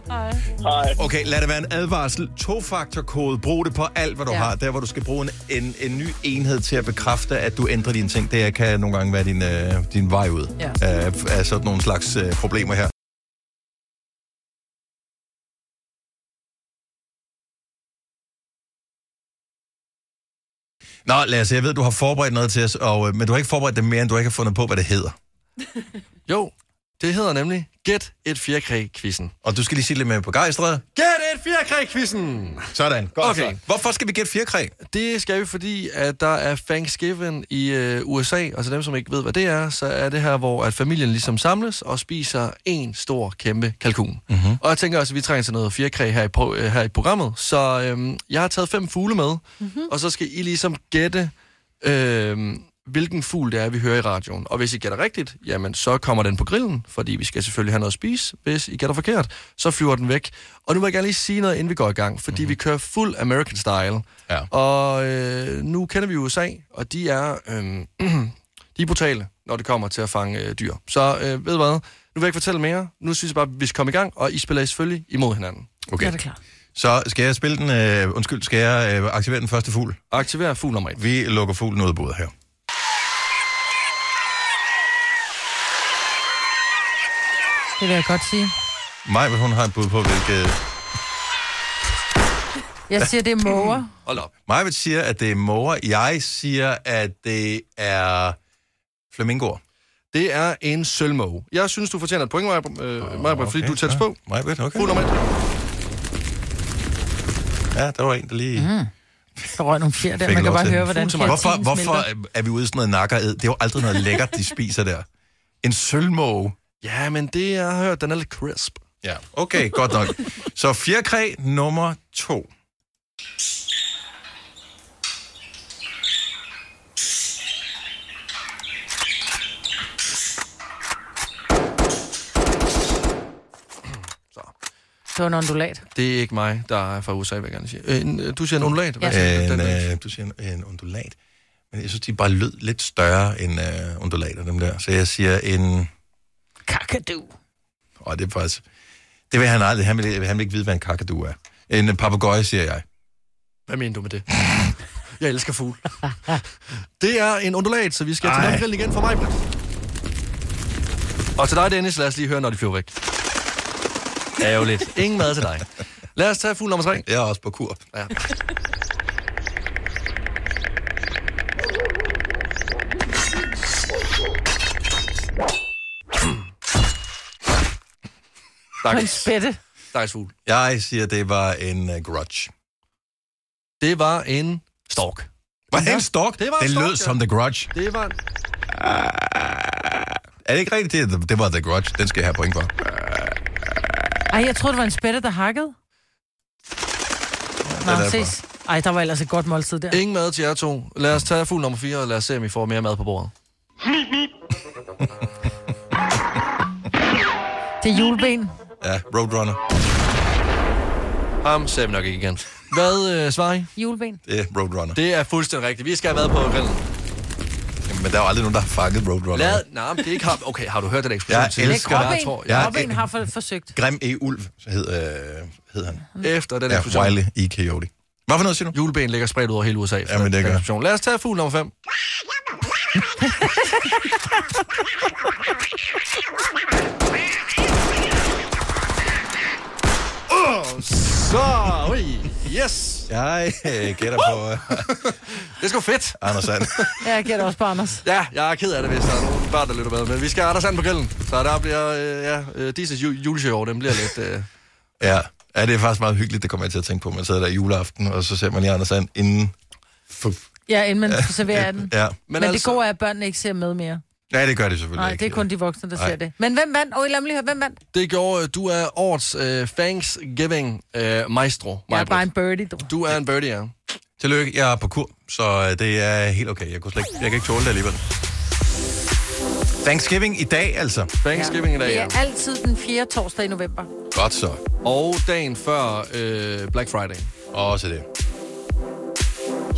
Speaker 17: Hej.
Speaker 1: Okay, lad det være en advarsel. To-faktor-kode. Brug det på alt, hvad du ja.
Speaker 2: Ja.
Speaker 1: har. Der, hvor du skal bruge en, en, en ny enhed til at bekræfte, at du ændrer dine ting. Det kan nogle gange være din, øh, din vej ud
Speaker 2: Ja.
Speaker 1: øh, af sådan nogle slags øh, problemer her. Nå, Lasse, jeg ved, du har forberedt noget til os, og, øh, men du har ikke forberedt det mere, end du ikke har fundet på, hvad det hedder.
Speaker 3: Jo, det hedder nemlig Gæt et fjerkræ-quizzen.
Speaker 1: Og du skal lige sige lidt mere begejstret.
Speaker 3: Gæt et fjerkræ-quizzen!
Speaker 1: Mm. Sådan, godt
Speaker 3: Okay.
Speaker 1: så. Hvorfor skal vi gætte fjerkræ?
Speaker 3: Det skal vi, fordi at der er Thanksgiving i øh, USA, og til dem, som ikke ved, hvad det er, så er det her, hvor at familien ligesom samles og spiser en stor, kæmpe kalkun. Mm-hmm. Og jeg tænker også, at vi trænger til noget fjerkræ her i, pro- øh, her i programmet, så øhm, jeg har taget fem fugle med, mm-hmm. og så skal I ligesom gætte, øhm, hvilken fugl det er, vi hører i radioen. Og hvis I gætter rigtigt, jamen så kommer den på grillen, fordi vi skal selvfølgelig have noget at spise. Hvis I gætter forkert, så flyver den væk. Og nu vil jeg gerne lige sige noget, inden vi går i gang, fordi mm-hmm. vi kører fuld American style.
Speaker 1: Ja.
Speaker 3: Og øh, nu kender vi USA, og de er, øh, de er brutale, når det kommer til at fange øh, dyr. Så øh, ved du hvad, nu vil jeg ikke fortælle mere. Nu synes jeg bare, at vi skal komme i gang, og I spiller selvfølgelig imod hinanden.
Speaker 1: Okay. Ja, det er klart. Så skal jeg spille den, øh, undskyld, skal jeg øh, aktivere den første fugl?
Speaker 3: Aktiver fugl nummer et.
Speaker 1: Vi lukker fuglen ud af bordet her.
Speaker 2: Det vil jeg godt sige.
Speaker 1: Maj, hun har et bud på, hvilket...
Speaker 2: Jeg siger, det er måger.
Speaker 3: Hold op.
Speaker 1: Maja siger, at det er måger. Jeg siger, at det er flamingoer.
Speaker 3: Det er en sølvmåge. Jeg synes, du fortjener et point, Majbert, øh, Majbert, fordi
Speaker 1: okay,
Speaker 3: du er tæt
Speaker 1: ja.
Speaker 3: på.
Speaker 1: Majbert, okay.
Speaker 3: Fugl nummer et.
Speaker 1: Ja, der var en, der lige... Mm.
Speaker 2: Der røg nogle fjer der. Man kan bare høre, hvordan
Speaker 1: Hvorfor,
Speaker 2: kreatinen
Speaker 1: hvorfor
Speaker 2: smelter.
Speaker 1: er vi ude i sådan noget nakkered? Det er jo aldrig noget lækkert, de spiser der. En sølvmåge.
Speaker 3: Ja, men det, jeg har hørt, den er lidt crisp.
Speaker 1: Ja, okay, godt nok. Så fjerkræ nummer to.
Speaker 2: Det var en ondulat.
Speaker 3: Det er ikke mig, der er fra USA, vil jeg gerne sige. Øh, en, øh, du siger en undulat? Hvad siger du?
Speaker 1: En,
Speaker 3: Den er-
Speaker 1: øh, du siger en, en undulat. Men jeg synes, de bare lød lidt større end øh, undulater, dem der. Så jeg siger en...
Speaker 2: Kakadu.
Speaker 1: Åh, det er faktisk... Det vil han aldrig. Han vil, han vil ikke vide, hvad en kakadu er. En øh, papegøje, siger jeg.
Speaker 3: Hvad mener du med det? Jeg elsker fugle. Det er en undulat, så vi skal til
Speaker 1: Ej.
Speaker 3: opgrillen igen for mig, Britt. Og til dig, Dennis, lad os lige høre, når de flyver væk. Ærgerligt. Ingen mad til dig. Lad os tage fugl nummer tre.
Speaker 1: Jeg er også på kur.
Speaker 3: Ja.
Speaker 2: På en
Speaker 3: Stakkels,
Speaker 2: spætte.
Speaker 3: stakkels fugl.
Speaker 1: Jeg siger, det var en uh, grudge.
Speaker 3: Det var en stork.
Speaker 1: Var det en stork?
Speaker 3: Det var en
Speaker 1: det
Speaker 3: stork,
Speaker 1: lød
Speaker 3: ja.
Speaker 1: som The Grudge. Ah.
Speaker 3: Det var en...
Speaker 1: Er det ikke rigtigt? Det, det var The Grudge. Den skal jeg have point for.
Speaker 2: Ej, jeg troede, det var en spætte, der hakkede. Nå,
Speaker 1: er derfor.
Speaker 2: ses. Ej, der var ellers et godt måltid der.
Speaker 3: Ingen mad til jer to. Lad os tage fugl nummer 4, og lad os se, om I får mere mad på bordet.
Speaker 2: Det er juleben.
Speaker 1: Ja, Roadrunner.
Speaker 3: Ham ser vi nok ikke igen. Hvad øh, svarer I?
Speaker 2: Juleben.
Speaker 1: Det er Roadrunner.
Speaker 3: Det er fuldstændig rigtigt. Vi skal have mad på grillen.
Speaker 1: Men der er jo aldrig nogen, der har fanget Roadrunner.
Speaker 3: Lad... Nej, men det er ikke ham. Okay, har du hørt den eksplosion?
Speaker 1: Jeg
Speaker 3: tidligere?
Speaker 1: elsker-
Speaker 3: Jeg tror,
Speaker 2: Gråben,
Speaker 3: jeg...
Speaker 2: Gråben har for, forsøgt.
Speaker 1: Grim E. Ulv hed, øh, hed han.
Speaker 3: Efter den
Speaker 1: Ja,
Speaker 3: eksplosion.
Speaker 1: Wiley E. Coyote. Hvad for noget siger du?
Speaker 3: Juleben ligger spredt ud over hele USA.
Speaker 1: Jamen, det
Speaker 3: Den
Speaker 1: gør.
Speaker 3: eksplosion. Lad os tage fugl nummer 5. Så, ui, yes.
Speaker 1: Jeg øh, gætter på øh,
Speaker 3: Det er sgu fedt.
Speaker 1: Anders Sand.
Speaker 2: Ja, jeg gætter også på Anders.
Speaker 3: Ja, jeg er ked af det, hvis der er nogen børn, der lytter med. Men vi skal have Anders Sand på grillen. Så der bliver, øh, ja, øh, Disney's ju- juleshow, den bliver lidt... Øh,
Speaker 1: Ja. Ja, det er faktisk meget hyggeligt, det kommer jeg til at tænke på. Man sidder der juleaften, og så ser man lige Anders And inden... Fuf.
Speaker 2: Ja, inden man serverer den.
Speaker 1: Ja.
Speaker 2: Men, Men altså... det gode er, at børnene ikke ser med mere.
Speaker 1: Nej, det gør det selvfølgelig
Speaker 2: Nej,
Speaker 1: ikke.
Speaker 2: det er kun de voksne, der
Speaker 1: Nej.
Speaker 2: ser det. Men hvem vandt? Åh, lad mig lige høre, hvem vandt?
Speaker 3: Det gjorde, øh, du er årets øh, Thanksgiving øh, maestro.
Speaker 2: Jeg er bare en birdie, du.
Speaker 3: Du er en birdie, ja.
Speaker 1: Tillykke, jeg er på kur, så øh, det er helt okay. Jeg, kunne slet ikke, jeg kan ikke tåle det alligevel. Thanksgiving i dag, altså.
Speaker 3: Thanksgiving i dag,
Speaker 2: Det
Speaker 3: ja. Øh.
Speaker 2: er altid den 4. torsdag i november.
Speaker 1: Godt så.
Speaker 3: Og dagen før øh, Black Friday.
Speaker 1: Også det.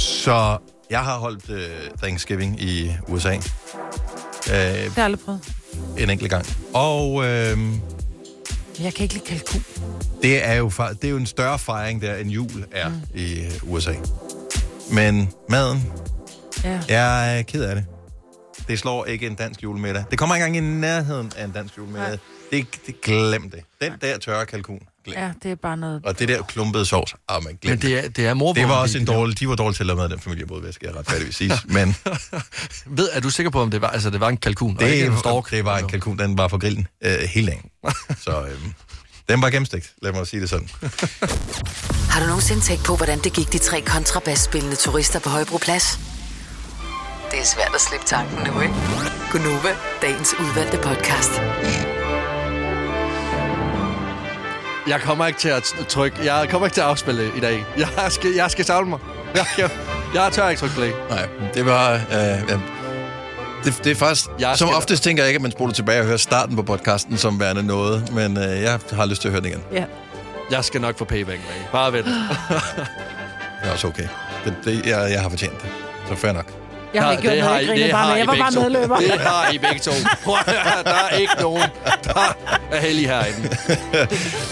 Speaker 1: Så jeg har holdt øh, Thanksgiving i USA. Øh, det
Speaker 2: har jeg aldrig prøvet.
Speaker 1: En enkelt gang. Og øh,
Speaker 2: Jeg kan ikke lide kalkun.
Speaker 1: det, er jo, fa- det er jo en større fejring der, end jul er mm. i øh, USA. Men maden,
Speaker 2: Ja.
Speaker 1: jeg er ked af det. Det slår ikke en dansk julemiddag. Det kommer ikke engang i nærheden af en dansk julemiddag. Det, det, glem det. Den der tørre kalkun.
Speaker 2: Ja, det er bare noget...
Speaker 1: Og det der klumpede sovs, ah, man glem
Speaker 3: Men det er, det er morbrød.
Speaker 1: Det var også en dårlig, de var dårlige til at lave mad, den familie, jeg boede ved, skal jeg retfærdigvis sige. Men
Speaker 3: Ved, er du sikker på, om det var, altså, det var en kalkun? og ikke en stork?
Speaker 1: det, det var en kalkun, den var for grillen øh, hele dagen. Så øh, den var gennemstegt, lad mig sige det sådan.
Speaker 5: Har du nogensinde tænkt på, hvordan det gik de tre kontrabasspillende turister på Højbroplads? Det er svært at slippe tanken nu, ikke? Gunova, dagens udvalgte podcast.
Speaker 3: Jeg kommer ikke til at t- trykke. Jeg kommer ikke til at afspille i dag. Jeg skal, jeg skal savne mig. Jeg, jeg, jeg tør ikke trykke play.
Speaker 1: Nej, det var... Øh, ja. det, det er faktisk... Jeg som
Speaker 3: skal-
Speaker 1: oftest tænker jeg ikke, at man spoler tilbage og hører starten på podcasten som værende noget, men øh, jeg har lyst til at høre den igen.
Speaker 2: Ja.
Speaker 3: Jeg skal nok få payback, man. Bare vent.
Speaker 1: Det er også okay. Det, det, jeg, jeg har fortjent det. Så fair nok.
Speaker 2: Jeg har
Speaker 3: Nej,
Speaker 2: ikke gjort
Speaker 3: det
Speaker 2: noget,
Speaker 3: har
Speaker 2: jeg
Speaker 3: I-
Speaker 2: grinede
Speaker 3: det
Speaker 2: bare
Speaker 3: har
Speaker 2: med.
Speaker 3: I
Speaker 2: Jeg var
Speaker 3: begge
Speaker 2: bare
Speaker 3: to.
Speaker 2: medløber.
Speaker 3: Det har I begge to. Prøv at høre, der er ikke nogen, der er heldig herinde.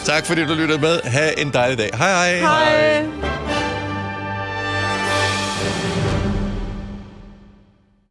Speaker 1: tak fordi du lyttede med. Ha' en dejlig dag. Hej hej.
Speaker 2: Hej.